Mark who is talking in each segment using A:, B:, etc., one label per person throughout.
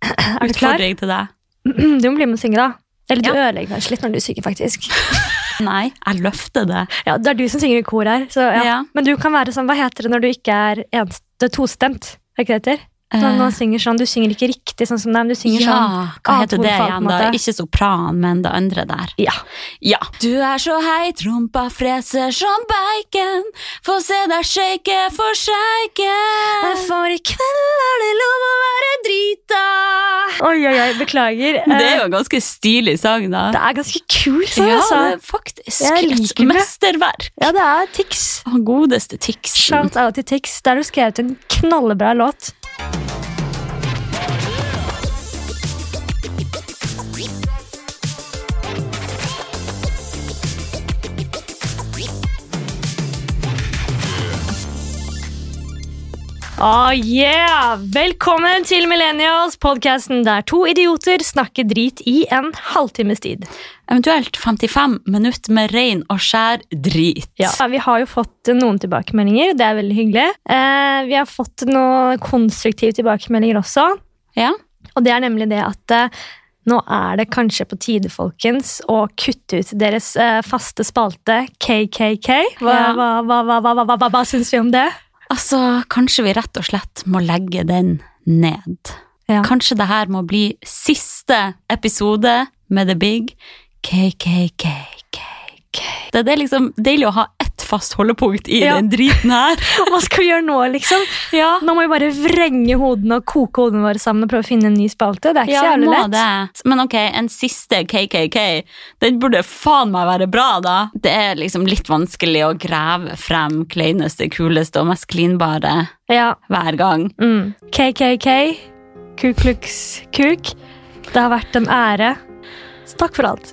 A: Er du klar?
B: Utfordring til deg.
A: Du må bli med og synge, da. Eller du
B: Ja.
A: ødelegger deg litt når du synger, faktisk.
B: Nei, jeg løfter det.
A: Ja, Det er du som synger i kor her. Så, ja.
B: Ja.
A: Men du kan være sånn, hva heter det når du ikke er enst, det er tostemt? Er det ikke det heter? Når
B: Eh,
A: noen synger sånn, Du synger ikke riktig, sånn som dem. Du synger
B: ja,
A: sånn
B: hva heter det
A: A-tonefall, på en
B: igjen, da?
A: måte.
B: Ikke sopran, men det andre der.
A: Ja.
B: Ja. Du er så hei, trompa freser som bacon. Få se deg shake for sheiken.
A: For i kveld er det lov
B: å være drita.
A: Oi, oi, oi, beklager.
B: Det er
A: Eh,
B: jo en ganske stilig sang, da.
A: det er ganske kul, sa jeg.
B: ja,
A: altså.
B: det er faktisk
A: Jeg
B: et
A: liker det.
B: mesterverk.
A: Ja, det er Tix.
B: Han godeste Tixen.
A: Shout out til Tix. Der har du skrevet en knallbra låt. Oh yeah! Velkommen til Millennials, podkasten der to idioter snakker drit i en halvtimes tid.
B: Eventuelt 55 minutter med rein og skjær drit.
A: Ja. Vi har jo fått noen tilbakemeldinger, det er veldig hyggelig. Eh, vi har fått noen konstruktive tilbakemeldinger også.
B: Ja.
A: Og det er nemlig det at eh, nå er det kanskje på tide, folkens, å kutte ut deres eh, faste spalte KKK. Hva,
B: Ja.
A: hva, hva, hva, hva, hva, hva, hva, hva syns vi om det?
B: Altså, kanskje vi rett og slett må legge den ned.
A: Ja.
B: Kanskje det her må bli siste episode med The Big KKKKK. Det det er liksom deilig å ha ett fast holdepunkt i
A: Ja.
B: den driten her.
A: Hva skal vi gjøre nå, liksom?
B: Ja,
A: Nå må vi bare vrenge hodene og koke hodene våre sammen og prøve å finne en ny spalte. Det er ikke
B: ja
A: så jævlig
B: må
A: lett.
B: det. Men ok, en siste KKK, den burde faen meg være bra, da. Det er liksom litt vanskelig å grave frem kleineste, kuleste og mest klinbare
A: Ja.
B: hver gang.
A: Mm. KKK, Ku Klux Kuk. Det har vært en ære. Så takk for alt.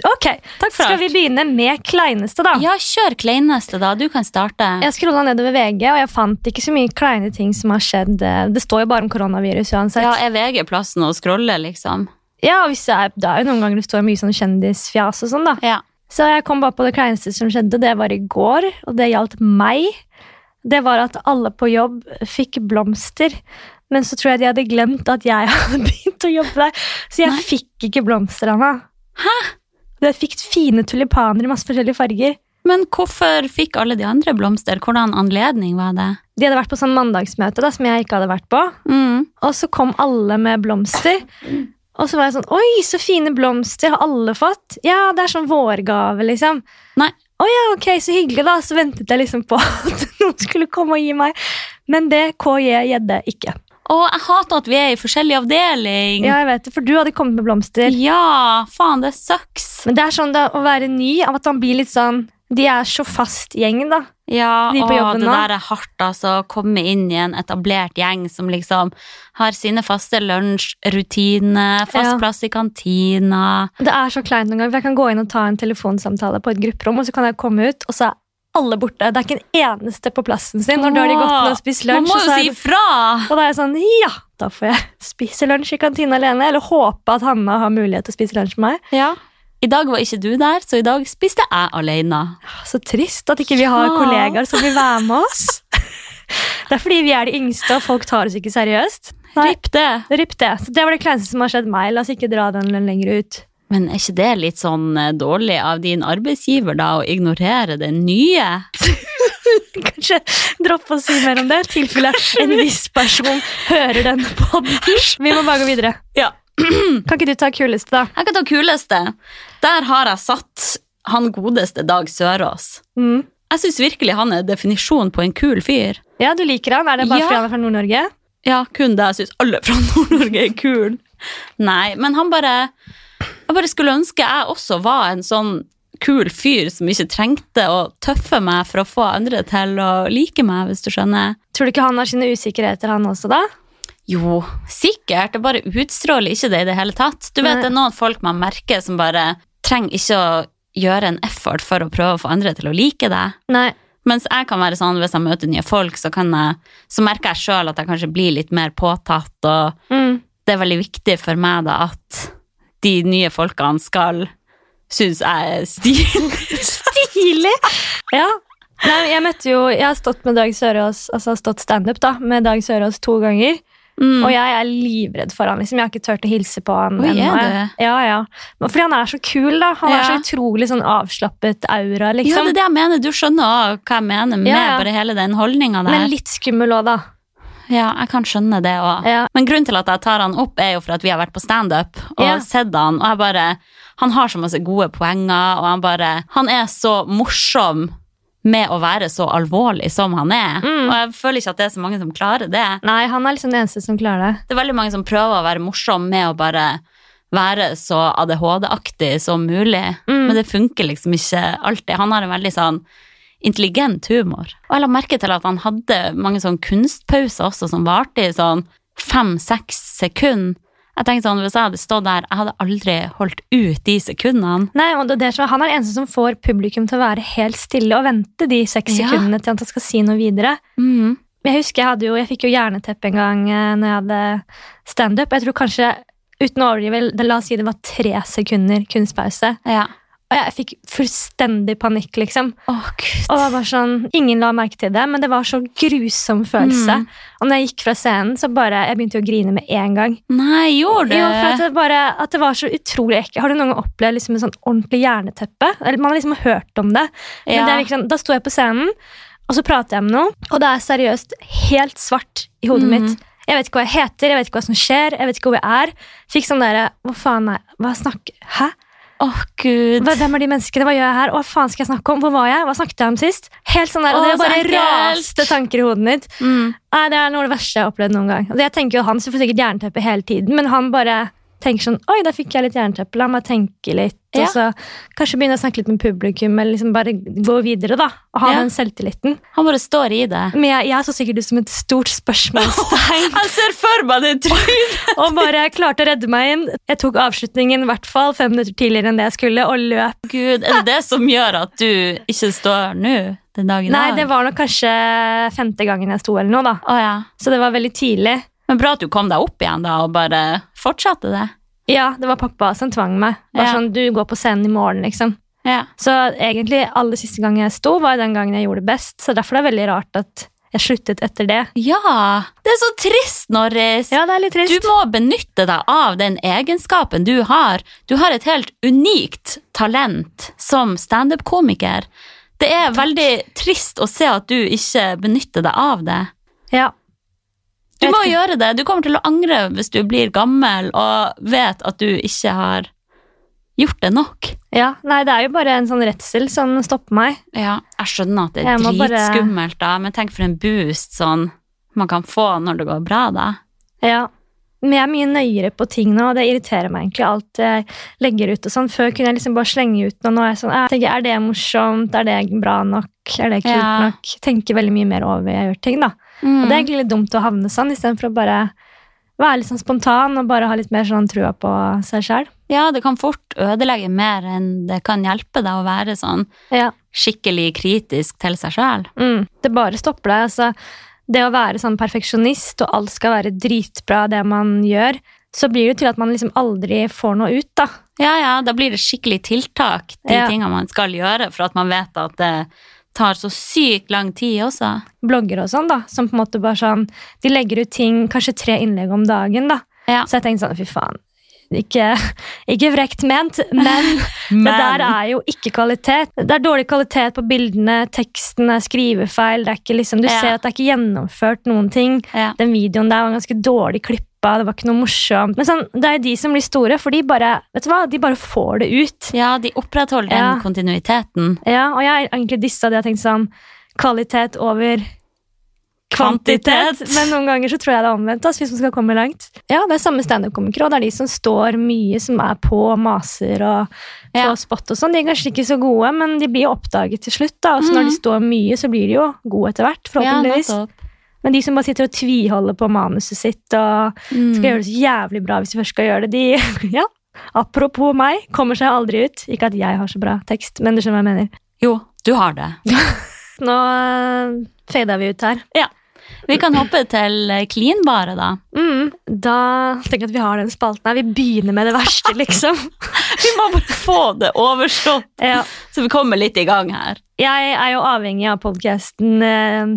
A: Ok,
B: Takk for
A: Skal
B: alt.
A: vi begynne med kleineste, da?
B: Ja, kjør kleineste, da. Du kan starte.
A: Jeg scrolla nedover VG, og jeg fant ikke så mye kleine ting som har skjedd. Det står jo bare om koronavirus uansett.
B: Ja,
A: Ja,
B: er VG plassen å scrolle, liksom?
A: og hvis det, er, det er jo noen ganger det står mye sånn kjendisfjas og sånn, da.
B: Ja.
A: Så jeg kom bare på det kleineste som skjedde. Det var i går, og det gjaldt meg. Det var at alle på jobb fikk blomster. Men så tror jeg de hadde glemt at jeg hadde begynt å jobbe der. Så jeg
B: Nei.
A: fikk ikke blomster av meg. Jeg fikk fine tulipaner i masse forskjellige farger.
B: Men hvorfor fikk alle de andre blomster? Hvordan anledning var det?
A: De hadde vært på sånn mandagsmøte da, som jeg ikke hadde vært på.
B: Mm.
A: Og så kom alle med blomster. Og så var jeg sånn Oi, så fine blomster har alle fått. Ja, det er sånn vårgave, liksom.
B: Nei.
A: Å ja, ok, så hyggelig, da. Så ventet jeg liksom på at noen skulle komme og gi meg. Men det KJ Gjedde ikke.
B: Å, jeg hater at vi er i forskjellig avdeling!
A: Ja, jeg vet det, for du hadde kommet med blomster.
B: Ja, faen, det sucks!
A: Men det er sånn da, å være ny, av at man blir litt sånn De er så fast gjengen, da.
B: Ja,
A: De på
B: å,
A: jobben
B: det
A: nå?
B: der er hardt, altså. Å komme inn i en etablert gjeng som liksom har sine faste lunsjrutiner, fast
A: Ja.
B: plass i kantina.
A: Det er så kleint noen ganger. for Jeg kan gå inn og ta en telefonsamtale på et grupperom, og så kan jeg komme ut, og så er alle borte. Det er ikke en eneste på plassen sin. Når da har de gått ned og spist
B: Man
A: lunsj.
B: må
A: og så
B: jo
A: er
B: si
A: det-
B: ifra!
A: Og da er jeg sånn, ja, da får jeg spise lunsj i kantina alene, eller håpe at Hanna har mulighet til å spise lunsj med meg.
B: Ja. I dag var ikke du der, så i dag spiste jeg alene.
A: Så trist at ikke vi har
B: Ja.
A: kollegaer som vil være med oss. Det er fordi vi er de yngste, og folk tar oss ikke seriøst. Nei.
B: Ripp det!
A: Ripp det. Så det var det kleineste som har skjedd meg. La oss ikke dra den lenger ut.
B: Men er ikke det litt sånn eh, dårlig av din arbeidsgiver da, å ignorere det nye?
A: Kanskje droppe å si mer om det, i tilfelle en viss person hører den podden. Vi må bare gå videre.
B: Ja.
A: Kan ikke du ta kuleste, da?
B: Jeg kan ta kuleste. Der har jeg satt han godeste Dag Sørås.
A: Mm.
B: Jeg syns virkelig han er definisjonen på en kul fyr.
A: Ja, du liker han. Er det bare
B: Ja.
A: fordi han er fra Nord-Norge?
B: Ja, kun det. Jeg syns alle fra Nord-Norge er kul. Nei, men han bare Jeg bare skulle ønske jeg også var en sånn kul fyr som ikke trengte å tøffe meg for å få andre til å like meg, hvis du skjønner.
A: Tror du ikke han har sine usikkerheter, han også, da?
B: Jo, sikkert. Det bare utstråler ikke det i det hele tatt. Du vet,
A: Nei.
B: det er noen folk man merker som bare trenger ikke å gjøre en effort for å prøve å få andre til å like deg.
A: Nei.
B: Mens jeg kan være sånn, hvis jeg møter nye folk, så, kan jeg, så merker jeg sjøl at jeg kanskje blir litt mer påtatt, og
A: Mm.
B: det er veldig viktig for meg da at de nye folkene skal synes jeg er stilig.
A: Stilig! Ja. Nei, jeg møtte jo Jeg har stått med Dag Sørås, altså stått standup, da, med Dag Sørås to ganger.
B: Mm.
A: Og jeg er livredd for han. Liksom. Jeg har ikke turt å hilse på han
B: Oi, er
A: ennå. Ja, ja. Men Fordi han er så kul, da. Han har
B: Ja.
A: så utrolig sånn avslappet aura,
B: Ja,
A: liksom.
B: det er det jeg mener. Du skjønner også hva jeg mener med
A: Ja, ja.
B: bare hele den holdninga der.
A: Men litt skummel òg, da.
B: Ja, jeg kan skjønne det òg.
A: Ja.
B: Men grunnen til at jeg tar han opp, er jo for at vi har vært på standup og
A: Ja.
B: sett han, og jeg bare Han har så masse gode poenger, og han bare Han er så morsom med å være så alvorlig som han er.
A: Mm.
B: Og jeg føler ikke at det er så mange som klarer det.
A: Nei, han er liksom den eneste som klarer det.
B: Det er veldig mange som prøver å være morsom med å bare være så ADHD-aktig som mulig,
A: Mm.
B: men det funker liksom ikke alltid. Han har en veldig sånn intelligent humor. Og jeg la merke til at han hadde mange sånn kunstpauser også som varte i sånn fem-seks sekunder. Jeg tenkte sånn, Hvis jeg hadde stått der, jeg hadde aldri holdt ut de sekundene.
A: Nei, og det er det som, Han er den eneste som får publikum til å være helt stille og vente de seks
B: Ja.
A: sekundene til at han skal si noe videre.
B: Mm.
A: Men Jeg husker jeg hadde jo, jeg fikk jo jernetepp en gang eh, når jeg hadde standup. Jeg tror kanskje, uten å overdrive, det- la oss si det var tre sekunder kunstpause.
B: Ja.
A: Og jeg fikk fullstendig panikk, liksom.
B: Å, gud.
A: Og det var bare sånn, Ingen la merke til det, men det var så grusom følelse.
B: Mm.
A: Og når jeg gikk fra scenen, så bare, jeg begynte jo å grine med en gang.
B: Nei, gjorde du?
A: Jo, for at det, bare, at det var så utrolig ekkelt. Har du noen gang opplevd liksom en sånn ordentlig jerneteppe? Eller, man har liksom hørt om det. Men
B: Ja.
A: det er virkelig sånn, da sto jeg på scenen, og så prater jeg med noen, og det er seriøst helt svart i hodet
B: Mhm.
A: mitt. Jeg vet ikke hva jeg heter, jeg vet ikke hva som skjer, jeg vet ikke hvor jeg er. Fikk sånn derre Hva faen er Hva snakker Hæ?
B: Å, gud.
A: Hva, hvem er de menneskene? Hva gjør jeg her? Hva faen skal jeg snakke om? Hvor var jeg? Hva snakket jeg om sist? Helt sånn der, og
B: Å,
A: Det
B: så
A: bare
B: ekkelt.
A: raste tanker i hodet mitt.
B: Mm.
A: Nei, Det er noe av det verste jeg har opplevd noen gang. Altså, jeg tenker jo Han så får sikkert jernteppe hele tiden, men han bare tenker sånn Oi, da fikk jeg litt jernteppe. La meg tenke litt.
B: Ja.
A: Og så kanskje begynne å snakke litt med publikum, eller liksom bare gå videre, da. Og ha
B: Ja.
A: den selvtilliten.
B: Han bare står i det.
A: Men jeg, jeg så sikkert ut som et stort spørsmålstegn.
B: Jeg ser for meg det trynet.
A: og bare klarte å redde meg inn. Jeg tok avslutningen i hvert fall fem minutter tidligere enn det jeg skulle, og løp.
B: Gud, er det det som gjør at du ikke står nå den dagen i
A: Nei,
B: dag?
A: det var nok kanskje femte gangen jeg sto, eller noe, da.
B: Å, ja.
A: Så det var veldig tidlig.
B: Men bra at du kom deg opp igjen da, og bare fortsatte det.
A: Ja, det var pappa som tvang meg. Bare
B: Ja.
A: sånn, du går på scenen i morgen, liksom.
B: Ja.
A: Så egentlig aller siste gang jeg sto, var den gangen jeg gjorde det best. Så derfor er det veldig rart at jeg sluttet etter det.
B: ja, det er så trist, Norris.
A: Ja, det er litt
B: Du
A: trist.
B: må benytte deg av den egenskapen du har. Du har et helt unikt talent som standup-komiker. Det er veldig trist å se at du ikke benytter deg av det.
A: Ja.
B: Du
A: Jeg
B: må
A: vet ikke.
B: gjøre det. Du kommer til å angre hvis du blir gammel og vet at du ikke har gjort det nok.
A: Ja, nei, det er jo bare en sånn redsel som stopper meg.
B: Ja, jeg skjønner at det er
A: Jeg må bare-
B: dritskummelt, da, men tenk for en boost sånn man kan få når det går bra, da.
A: Ja. Men jeg er mye nøyere på ting nå, og det irriterer meg egentlig alt jeg legger ut og sånn. Før kunne jeg liksom bare slenge ut noe, nå er jeg sånn, jeg tenker, er det morsomt, er det bra nok, er det kult
B: Ja.
A: nok? Tenker veldig mye mer over jeg gjør ting da. Og det er egentlig litt dumt å havne sånn, istedenfor å bare være litt sånn spontan og bare ha litt mer sånn trua på seg sjøl.
B: Ja, det kan fort ødelegge mer enn det kan hjelpe deg å være sånn
A: Ja.
B: skikkelig kritisk til seg sjøl.
A: Mm. Det bare stopper deg. Altså, det å være sånn perfeksjonist, og alt skal være dritbra, det man gjør, så blir det til at man liksom aldri får noe ut, da.
B: Ja, ja, da blir det skikkelig tiltak, de
A: Ja.
B: tingene man skal gjøre, for at man vet at det tar så sykt lang tid også.
A: Blogger og sånn, da, som på en måte bare sånn De legger ut ting, kanskje tre innlegg om dagen, da.
B: Ja.
A: Så jeg tenkte sånn, fy faen. Ikke, ikke vrekt ment, men Det der er jo ikke kvalitet. Det er dårlig kvalitet på bildene, teksten er skrivefeil. Det er ikke liksom, du
B: Ja.
A: ser at det er ikke gjennomført noen ting.
B: ja.
A: Den videoen der var ganske dårlig klippa. Det var ikke noe morsomt. Men sånn, det er jo de som blir store, for de bare, vet du hva? De bare får det ut.
B: ja, de opprettholder den
A: Ja.
B: kontinuiteten.
A: Ja, og jeg har egentlig dissa det. Jeg har tenkt sånn Kvalitet over kvantitet.
B: Kvantitet.
A: Men noen ganger så tror jeg det er omvendt. Altså, hvis man skal komme langt. Ja, Det er samme standup-komikere, og det er de som står mye, som er på og maser og får
B: Ja.
A: spot og sånn. De er kanskje ikke så gode, men de blir jo oppdaget til slutt. da. Og så
B: Mhm.
A: når de står mye, så blir de jo gode etter hvert, forhåpentligvis.
B: nettopp.
A: men de som bare sitter og tviholder på manuset sitt og
B: Mm.
A: skal gjøre det så jævlig bra hvis de først skal gjøre det, de ja, Apropos meg, kommer seg aldri ut. Ikke at jeg har så bra tekst, men du skjønner hva jeg mener.
B: Jo, du har det.
A: Nå øh, fada vi ut her.
B: Vi kan hoppe til eh, klinbare, da.
A: Mm, da tenker jeg at vi har den spalten her. Vi begynner med det verste, liksom.
B: Vi må bare få det overstått,
A: ja.
B: så vi kommer litt i gang her.
A: Jeg er jo avhengig av podkasten eh,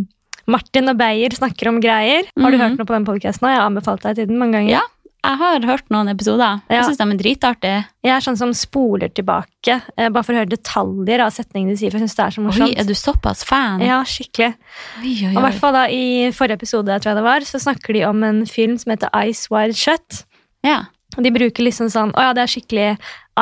A: Martin og Beyer snakker om greier. Har du
B: Mhm.
A: hørt noe på den podkasten? Jeg har anbefalt deg til den mange ganger.
B: Ja. Jeg har hørt noen episoder. Jeg
A: Ja.
B: syns de er dritartige.
A: Jeg er sånn som spoler tilbake, eh, bare for å høre detaljer av setningene de sier. for jeg synes det er så
B: Oi,
A: morsomt.
B: er du såpass fan?
A: Ja, skikkelig.
B: Oi, oi,
A: Og i
B: oi.
A: hvert fall da, i forrige episode tror jeg det var, så snakker de om en film som heter Ice Wide Shut.
B: Ja.
A: Og de bruker liksom sånn Å ja, det er skikkelig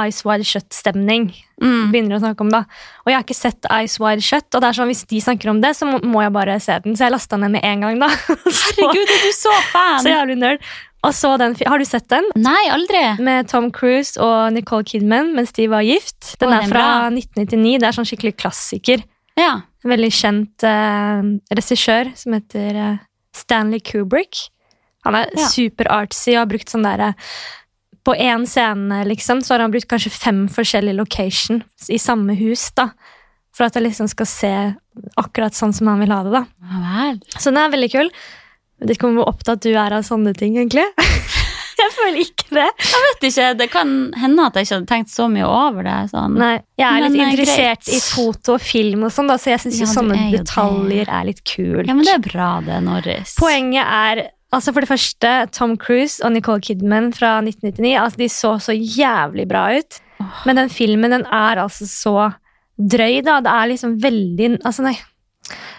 A: Ice Wide Shut-stemning.
B: Mm.
A: begynner å snakke om da. Og jeg har ikke sett Ice Wide Shut, og det er sånn, hvis de snakker om det, så må- må jeg bare se den. Så jeg lasta den ned med en gang, da. så,
B: Herregud, er du så fan?
A: så jævlig nerd. Og så den, fi- har du sett den?
B: Nei, aldri.
A: Med Tom Cruise og Nicole Kidman mens de var gift. Den
B: Å,
A: er
B: den er
A: fra 1999. Det er sånn skikkelig klassiker.
B: Ja.
A: En veldig kjent eh, regissør som heter eh, Stanley Kubrick. Han er
B: Ja.
A: super-artsy og har brukt sånn derre På én scene liksom, så har han brukt kanskje fem forskjellige location i samme hus. da, For at det liksom skal se akkurat sånn som han vil ha det. da.
B: Ja vel.
A: Så den er veldig kul. Jeg vet ikke om hvor opptatt du er av sånne ting, egentlig. jeg føler ikke det.
B: Vet ikke, det kan hende at jeg ikke hadde tenkt så mye over det. Sånn.
A: Nei, Jeg er litt
B: Men, eh,
A: interessert
B: greit.
A: i foto og film, og sånn, da, så jeg syns
B: Ja, du
A: sånne
B: er jo det.
A: detaljer er litt kult.
B: Ja, men det er bra det, Norris.
A: Poenget er altså for det første Tom Cruise og Nicole Kidman fra 1999 altså de så så jævlig bra ut.
B: Åh.
A: Men den filmen den er altså så drøy. da. Det er liksom veldig altså nei,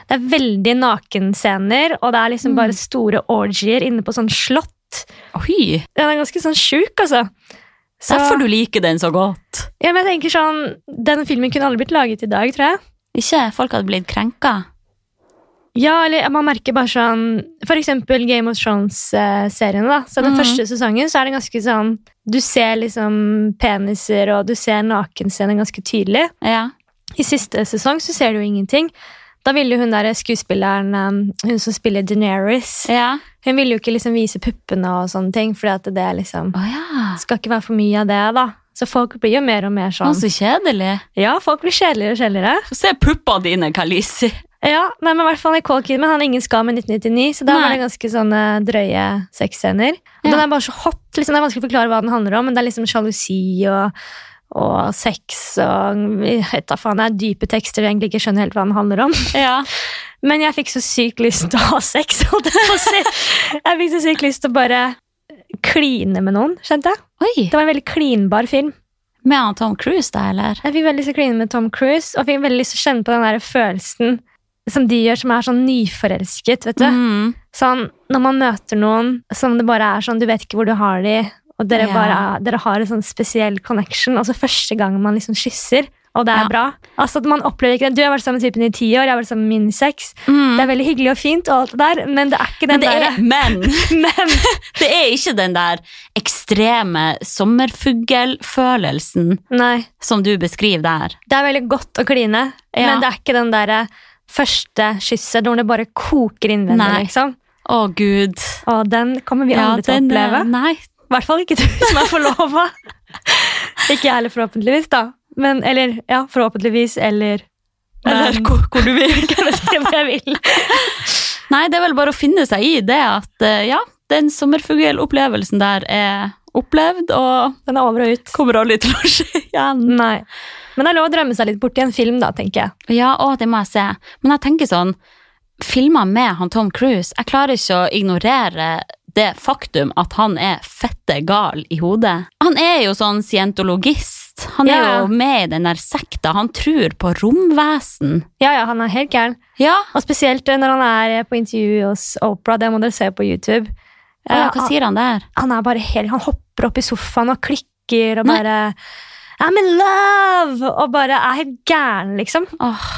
A: det er veldig nakenscener, og det er liksom
B: Mm.
A: bare store orgier inne på sånn slott.
B: Oi,
A: Den er ganske sånn sjuk, altså. Så,
B: derfor du liker den så godt.
A: ja, men jeg tenker sånn, Den filmen kunne aldri blitt laget i dag, tror jeg.
B: Ikke folk hadde blitt krenka.
A: Ja, eller man merker bare sånn For eksempel Game of Thrones-serien. da Så Den
B: Mhm.
A: første sesongen så er det ganske sånn Du ser liksom peniser og du ser nakenscener ganske tydelig.
B: Ja.
A: I siste sesong så ser du jo ingenting. Da ville jo hun der skuespilleren, eh, hun som spiller Deneris
B: Ja.
A: Hun ville jo ikke liksom vise puppene og sånne ting, fordi at det er liksom
B: Å ja.
A: skal ikke være for mye av det. da Så folk blir jo mer og mer
B: Å,
A: sånn.
B: så kjedelig.
A: Ja, folk blir kjedeligere og kjedeligere.
B: Få se puppene dine, Kalisi.
A: Ja, nei, men i hvert fall Nicole Kidman han har ingen skam i 1999, så da
B: Nei.
A: var det ganske sånne drøye sexscener. Og
B: Ja.
A: Den er bare så hot. liksom Det er vanskelig å forklare hva den handler om, men det er liksom sjalusi og, og sex og jeg vet da faen, Det er dype tekster jeg egentlig ikke skjønner helt hva den handler om.
B: Ja.
A: Men jeg fikk så sykt lyst til å ha sex. holdt Jeg på å si. Jeg fikk så sykt lyst til å bare kline med noen, skjønte jeg.
B: Oi,
A: Det var en veldig klinbar film.
B: med han Tom Cruise da, eller?
A: Jeg fikk veldig lyst til å kline med Tom Cruise, og fikk veldig lyst til å kjenne på den der følelsen som de gjør, som er sånn nyforelsket. vet du.
B: Mm.
A: Sånn, Når man møter noen som det bare er sånn, du vet ikke hvor du har de, og dere,
B: Ja.
A: bare, er- dere har en sånn spesiell connection. Altså første gang man liksom kysser, og det er
B: Ja.
A: bra. Altså at man opplever ikke det. Du har vært sammen med typen i ti år, jeg har vært sammen med min i seks.
B: Mm.
A: Det er veldig hyggelig og fint, og alt det der, men det er ikke
B: Men
A: den
B: det,
A: der
B: er, men
A: Men
B: det er ikke den der ekstreme sommerfuglfølelsen
A: nei,
B: som du beskriver der.
A: det er veldig godt å kline,
B: Ja.
A: men det er ikke den derre første kysset hvor det bare koker innvendig,
B: Nei.
A: liksom.
B: Å, gud.
A: Og den kommer vi aldri til å
B: den,
A: oppleve.
B: eh, Nei.
A: I hvert fall ikke du som er forlova. ikke jeg heller, forhåpentligvis. da. Men, eller ja, forhåpentligvis, eller
B: Eller
A: Men-
B: hvor, hvor du vil.
A: Jeg vet ikke hva jeg vil.
B: Nei, det er vel bare å finne seg i det at eh, ja, den sommerfuglopplevelsen der er opplevd og
A: Den er over og ut.
B: kommer aldri til å skje igjen.
A: Nei. Men det er lov å drømme seg litt bort i en film, da, tenker jeg.
B: Ja, å, det må jeg se. Men jeg tenker sånn, filmer med han Tom Cruise, jeg klarer ikke å ignorere det faktum at han er fette gal i hodet. Han er jo sånn scientologist. Han er
A: Ja.
B: jo med i den der sekta. Han tror på romvesen.
A: Ja, ja, han er helt gæren.
B: Ja,
A: Og spesielt eh, når han er på intervju hos Opera. Det må dere se på YouTube.
B: Å ja,
A: Eh,
B: hva sier han der?
A: han, han er bare helt, han hopper opp i sofaen og klikker og
B: Nei.
A: bare I'm in love! Og bare er helt gæren, liksom.
B: Åh,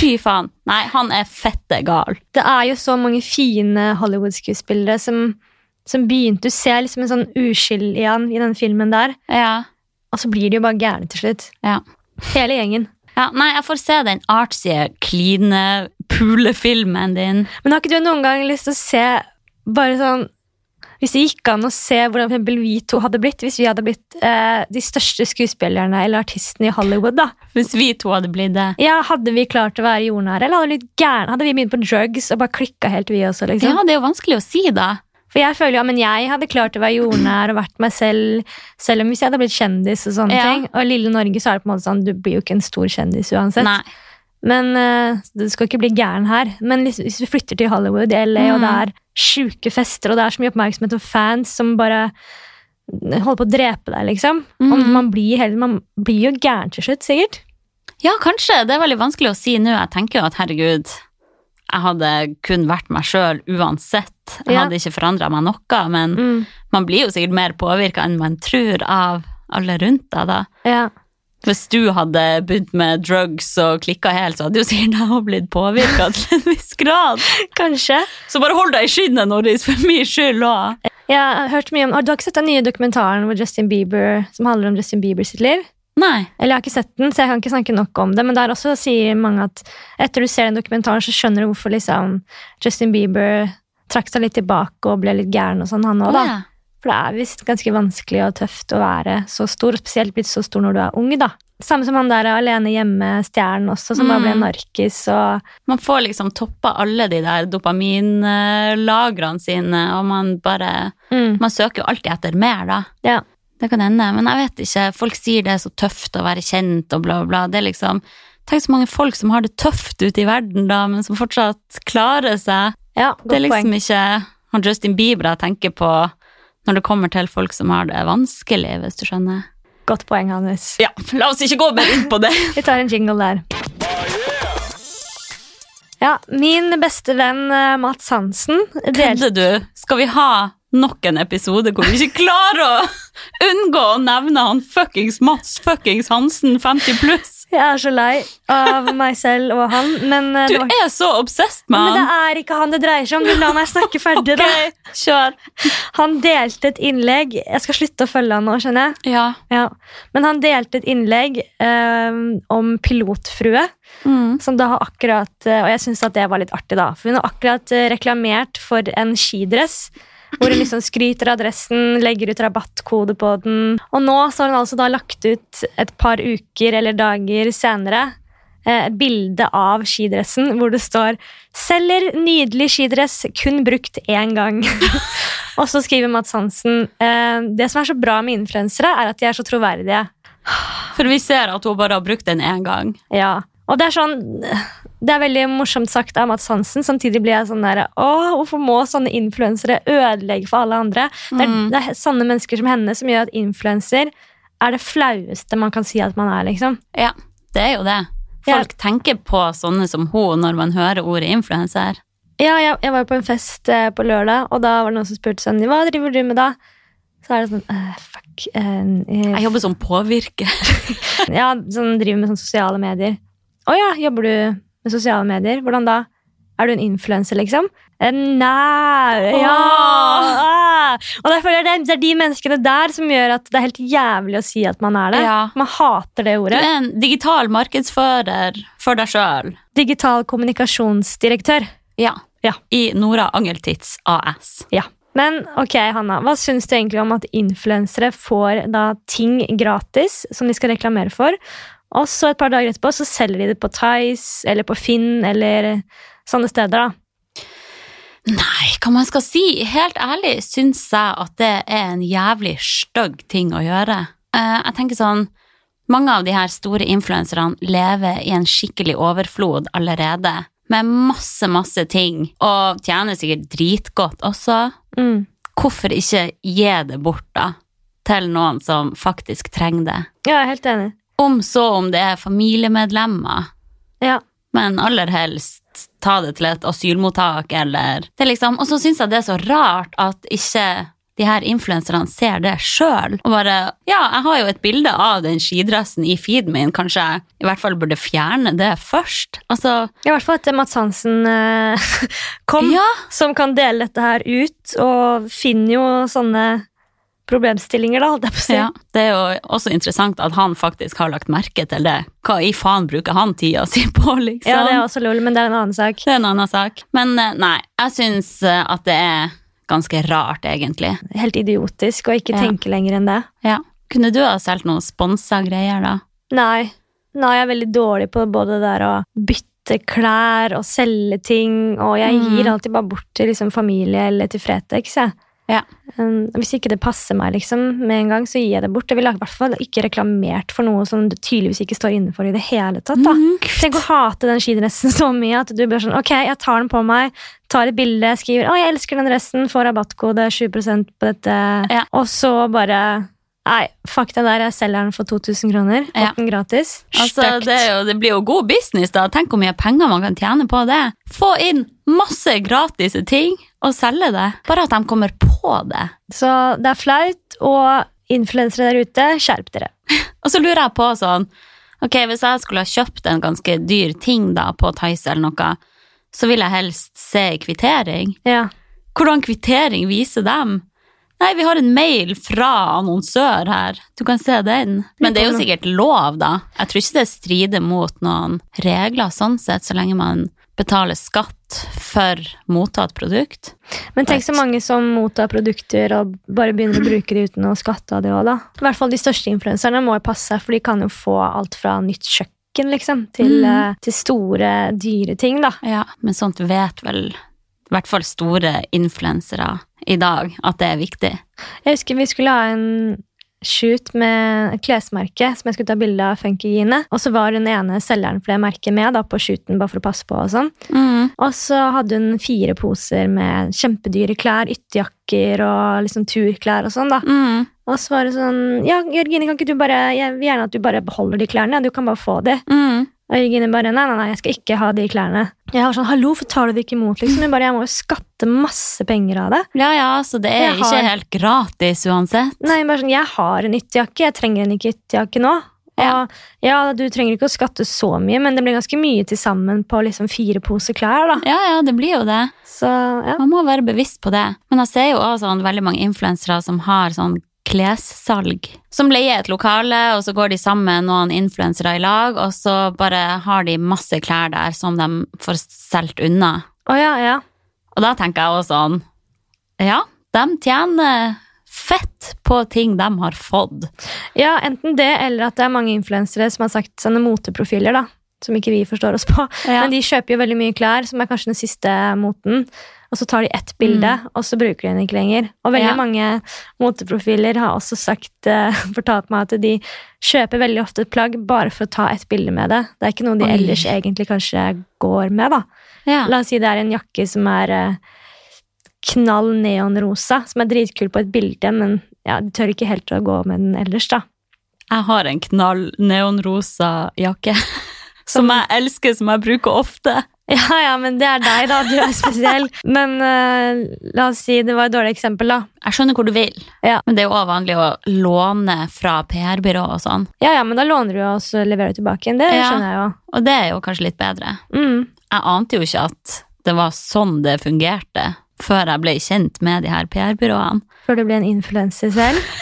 B: fy faen. Nei, han er fette gal.
A: det er jo så mange fine Hollywood-skuespillere som, som begynte Du ser liksom en sånn uskyld i han i den filmen der,
B: Ja.
A: og så blir de jo bare gærne til slutt.
B: Ja.
A: Hele gjengen.
B: ja. Nei, jeg får se den artsy, kline pulefilmen din.
A: Men har ikke du noen gang lyst til å se bare sånn Hvis det gikk an å se hvordan for eksempel vi to hadde blitt hvis vi hadde blitt eh, de største skuespillerne eller artistene i Hollywood, da?
B: Hvis vi to hadde blitt det.
A: Ja, Hadde vi klart å være jordnære, eller hadde vi, blitt gærne? hadde vi begynt på drugs og bare klikka helt, vi også? liksom?
B: Ja, det er jo vanskelig å si da.
A: For jeg føler jo, ja, men jeg hadde klart å være jordnær og vært meg selv, selv om hvis jeg hadde blitt kjendis og sånne
B: Ja.
A: ting. Og i lille Norge så er det på en måte sånn, du blir jo ikke en stor kjendis uansett.
B: Nei.
A: Men eh, du skal ikke bli gæren her. Men hvis, hvis vi flytter til Hollywood, LA, og
B: Mm.
A: det er sjuke fester, og det er så mye oppmerksomhet og fans som bare holder på å drepe deg, liksom. Om
B: Mm.
A: man, blir, heller- man blir jo gæren til slutt, sikkert.
B: Ja, kanskje. Det er veldig vanskelig å si nå. Jeg tenker jo at herregud, jeg hadde kun vært meg sjøl uansett. Jeg
A: Ja. Mm.
B: hadde ikke forandra meg noe, men man blir jo sikkert mer påvirka enn man tror av alle rundt deg, da.
A: Ja.
B: Hvis du hadde begynt med drugs og klikka helt, så hadde jo sikkert jeg også blitt påvirka til en viss grad.
A: Kanskje.
B: Så bare hold deg i skinnet, Norris, for min skyld òg.
A: Jeg har hørt mye om, har du ikke sett den nye dokumentaren hvor Justin Bieber, som handler om Justin Bieber sitt liv?
B: Nei.
A: Eller jeg har ikke sett den, så jeg kan ikke snakke nok om det. Men der også sier mange at etter du ser den dokumentaren, så skjønner du hvorfor liksom Justin Bieber trakk seg litt tilbake og ble litt gæren og sånn, han òg, da.
B: Å, ja.
A: For det er visst ganske vanskelig og tøft å være så stor, og spesielt blitt så stor når du er ung, da. Samme som han der alene hjemme-stjernen også, som bare ble
B: Mm.
A: narkis og
B: Man får liksom toppa alle de der dopaminlagrene sine, og man bare
A: mm,
B: Man søker jo alltid etter mer, da.
A: Ja.
B: Det kan hende, men jeg vet ikke. Folk sier det er så tøft å være kjent og bla, bla. Det er liksom Tenk så mange folk som har det tøft ute i verden, da, men som fortsatt klarer seg.
A: Ja,
B: det
A: godt
B: er
A: poeng.
B: liksom ikke han Justin Bieber jeg tenker på når det kommer til folk som har det vanskelig, hvis du skjønner.
A: Godt poeng, Hannes.
B: Ja, la oss ikke gå mer inn på det.
A: Vi tar en jingle der. Ja, min beste venn eh, Mats Hansen delte
B: Kødder du? Skal vi ha nok en episode hvor vi ikke klarer å unngå å nevne han fuckings Mats fuckings Hansen 50 pluss?
A: Jeg er så lei av meg selv og han, men eh,
B: Du
A: det, var...
B: er så obsessed med
A: men det
B: han.
A: er ikke han det dreier seg om. La meg snakke ferdig, da.
B: Ok, kjør.
A: Han delte et innlegg Jeg skal slutte å følge han nå, skjønner jeg.
B: Ja.
A: Ja. Men han delte et innlegg eh, om pilotfrue.
B: Mm.
A: Som da har akkurat eh, Og jeg syns at det var litt artig, da. For hun har akkurat eh, reklamert for en skidress. Hvor hun liksom skryter av dressen, legger ut rabattkode på den. Og nå så har hun altså da lagt ut et par uker eller dager senere eh, et bilde av skidressen hvor det står 'Selger nydelig skidress, kun brukt én gang'. og så skriver Mads Hansen eh, det som er så bra med influensere, er at de er så troverdige.
B: For vi ser at hun bare har brukt den én gang.
A: Ja, og det er sånn Det er veldig morsomt sagt av Mads Hansen. Samtidig blir jeg sånn der Å, hvorfor må sånne influensere ødelegge for alle andre? Det, er,
B: Mm.
A: det er sånne mennesker som henne som gjør at influenser er det flaueste man kan si at man er, liksom.
B: Ja, det er jo det. Folk tenker på sånne som hun når man hører ordet influenser.
A: Ja, jeg, jeg var jo på en fest eh, på lørdag, og da var det noen som spurte sånn Hva driver du med da? Så er det sånn eh, Fuck. eh, eh,
B: Jeg jobber som påvirker.
A: ja, sånn driver med sånn sosiale medier. Å ja, jobber du med sosiale medier? Hvordan da? Er du en influenser, liksom? Eh, Nei Ja! ah. Og derfor er det, det er de menneskene der som gjør at det er helt jævlig å si at man er det.
B: Ja.
A: Man hater det
B: Du
A: ordet.
B: er en digital markedsfører for deg sjøl.
A: Digital kommunikasjonsdirektør.
B: Ja.
A: Ja.
B: I Nora Angeltids AS.
A: Ja. Men ok, Hanna, hva syns du egentlig om at influensere får da ting gratis som de skal reklamere for, og så et par dager etterpå så selger de det på Tice eller på Finn eller sånne steder, da?
B: Nei, hva man skal si? Helt ærlig syns jeg at det er en jævlig stygg ting å gjøre. Eh, jeg tenker sånn Mange av de her store influenserne lever i en skikkelig overflod allerede. Med masse, masse ting. Og tjener sikkert dritgodt også.
A: Mm.
B: Hvorfor ikke gi det bort, da? Til noen som faktisk trenger det.
A: Ja, jeg er helt enig.
B: Om så om det er familiemedlemmer.
A: Ja.
B: Men aller helst ta det til et asylmottak, eller det er liksom, Og så syns jeg det er så rart at ikke de her influenserne ser det sjøl. Og bare Ja, jeg har jo et bilde av den skidressen i feeden min, kanskje jeg i hvert fall burde fjerne det først? Altså,
A: I hvert fall etter Mads Hansen eh, kom,
B: ja.
A: som kan dele dette her ut, og finner jo sånne problemstillinger, da, holdt jeg på å si.
B: ja. Det er jo også interessant at han faktisk har lagt merke til det. Hva i faen bruker han tida si på, liksom?
A: Ja, det er også lol, men det er en annen sak.
B: Det er en annen sak. Men eh, nei, jeg syns at det er ganske rart, egentlig.
A: Helt idiotisk å ikke
B: Ja.
A: tenke lenger enn det.
B: Ja. Kunne du ha solgt noen sponsa greier, da?
A: Nei. Nå er jeg veldig dårlig på både det der å bytte klær og selge ting, og jeg
B: Mm.
A: gir alltid bare bort til liksom familie eller til Fretex, jeg.
B: Ja.
A: Um, hvis ikke det passer meg liksom, med en gang, så gir jeg det bort. Jeg ville i hvert fall ikke reklamert for noe som du tydeligvis ikke står innenfor i det hele tatt. Da.
B: Mhm.
A: Tenk å hate den skidressen så mye at du blir sånn Ok, jeg tar den på meg, tar et bilde, skriver 'Å, jeg elsker den dressen, får rabattkode 20 på dette',
B: Ja.
A: og så bare Nei, fuck det der, jeg selger den for 2000 kroner. Fått
B: Ja.
A: den gratis.
B: Altså,
A: Stygt.
B: det, er jo, det blir jo god business, da. Tenk hvor mye penger man kan tjene på det. Få inn masse gratis ting og selge det. Bare at de kommer på det.
A: Så det er flaut, og influensere der ute, skjerp dere.
B: Og så lurer jeg på sånn Ok, hvis jeg skulle ha kjøpt en ganske dyr ting da på Tice eller noe, så vil jeg helst se kvittering.
A: Ja.
B: Hvordan kvittering viser dem? Nei, vi har en mail fra annonsør her. Du kan se den. Men det er jo sikkert lov, da. Jeg tror ikke det strider mot noen regler sånn sett, så lenge man betaler skatt for mottatt produkt.
A: Men tenk så mange som mottar produkter og bare begynner å bruke det uten å skatte av det òg, da. I hvert fall de største influenserne må jo passe seg, for de kan jo få alt fra nytt kjøkken, liksom, til,
B: Mm.
A: eh, til store, dyre ting, da.
B: Ja, men sånt vet vel i hvert fall store influensere i dag at det er viktig.
A: Jeg husker vi skulle ha en shoot med et klesmerke som jeg skulle ta bilde av Funkygine. Og så var hun ene selgeren for det merket med da, på shooten, bare for å passe på og sånn.
B: Mm.
A: Og så hadde hun fire poser med kjempedyre klær, ytterjakker og liksom turklær og sånn. da.
B: Mm.
A: Og så var det sånn Ja, Jørgine, kan ikke du bare Jeg vil gjerne at du bare beholder de klærne. Du kan bare få de.
B: Mm.
A: Og Jørgine bare Nei, nei, nei, jeg skal ikke ha de klærne. Jeg var sånn Hallo, hvorfor tar du det ikke imot, liksom? Jeg bare Jeg må jo skatte masse penger av det.
B: Ja, ja, så det er
A: Jeg
B: ikke
A: har-
B: helt gratis uansett.
A: Nei, bare sånn Jeg har en ytterjakke. Jeg trenger en ikke ytterjakke nå.
B: Ja.
A: Og ja, du trenger ikke å skatte så mye, men det blir ganske mye til sammen på liksom fire poser klær, da.
B: Ja, ja, det blir jo det.
A: Så ja.
B: Man må være bevisst på det. Men jeg ser jo også sånn, veldig mange influensere som har sånn klessalg. Som leier et lokale, og så går de sammen med noen influensere i lag, og så bare har de masse klær der som de får solgt unna.
A: Å ja, ja.
B: Og da tenker jeg også sånn Ja, de tjener fett på ting de har fått.
A: Ja, enten det, eller at det er mange influensere som har sagt sånne moteprofiler, da. Som ikke vi forstår oss på.
B: Ja.
A: Men de kjøper jo veldig mye klær, som er kanskje den siste moten. Og så tar de ett bilde, og så bruker de den ikke lenger. Og veldig
B: Ja.
A: mange moteprofiler har også sagt, eh, fortalt meg at de kjøper veldig ofte et plagg bare for å ta ett bilde med det. Det er ikke noe de
B: Oi.
A: ellers egentlig kanskje går med, da.
B: Ja.
A: La oss si det er en jakke som er eh, knall neonrosa, som er dritkul på et bilde, men ja, de tør ikke helt å gå med den ellers, da.
B: Jeg har en knall neonrosa jakke. Som jeg elsker, som jeg bruker ofte.
A: Ja, ja, men det er deg, da. Du er spesiell. Men eh, la oss si det var et dårlig eksempel, da.
B: Jeg skjønner hvor du vil,
A: Ja.
B: men det er jo også vanlig å låne fra PR-byrå og sånn.
A: Ja, ja, men da låner du og så leverer du tilbake igjen. Det
B: Ja.
A: skjønner jeg jo.
B: Og det er jo kanskje litt bedre.
A: Mm.
B: Jeg ante jo ikke at det var sånn det fungerte, før jeg ble kjent med de her PR-byråene.
A: Før du blir en influenser selv.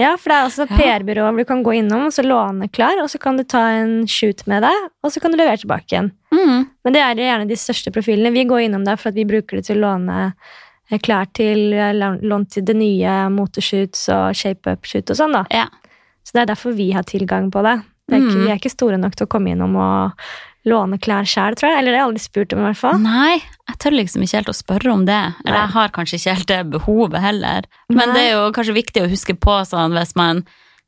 A: Ja, for det er også
B: Ja.
A: PR-byrå hvor du kan gå innom og så låne klær, og så kan du ta en shoot med deg, og så kan du levere tilbake igjen.
B: Mm.
A: Men det er gjerne de største profilene. Vi går innom der for at vi bruker det til å låne eh, klær til vi har lånt lånt til det nye moteshoots og shape-up-shoot og sånn, da.
B: Ja.
A: Så det er derfor vi har tilgang på det. det er ikke,
B: Mm.
A: Vi er ikke store nok til å komme innom og låne klær sjæl, tror jeg. Eller det har jeg aldri spurt om, i hvert fall.
B: Nei, jeg tør liksom ikke helt å spørre om det. Eller
A: Nei.
B: jeg har kanskje ikke helt det behovet heller. Men
A: Nei.
B: det er jo kanskje viktig å huske på sånn hvis man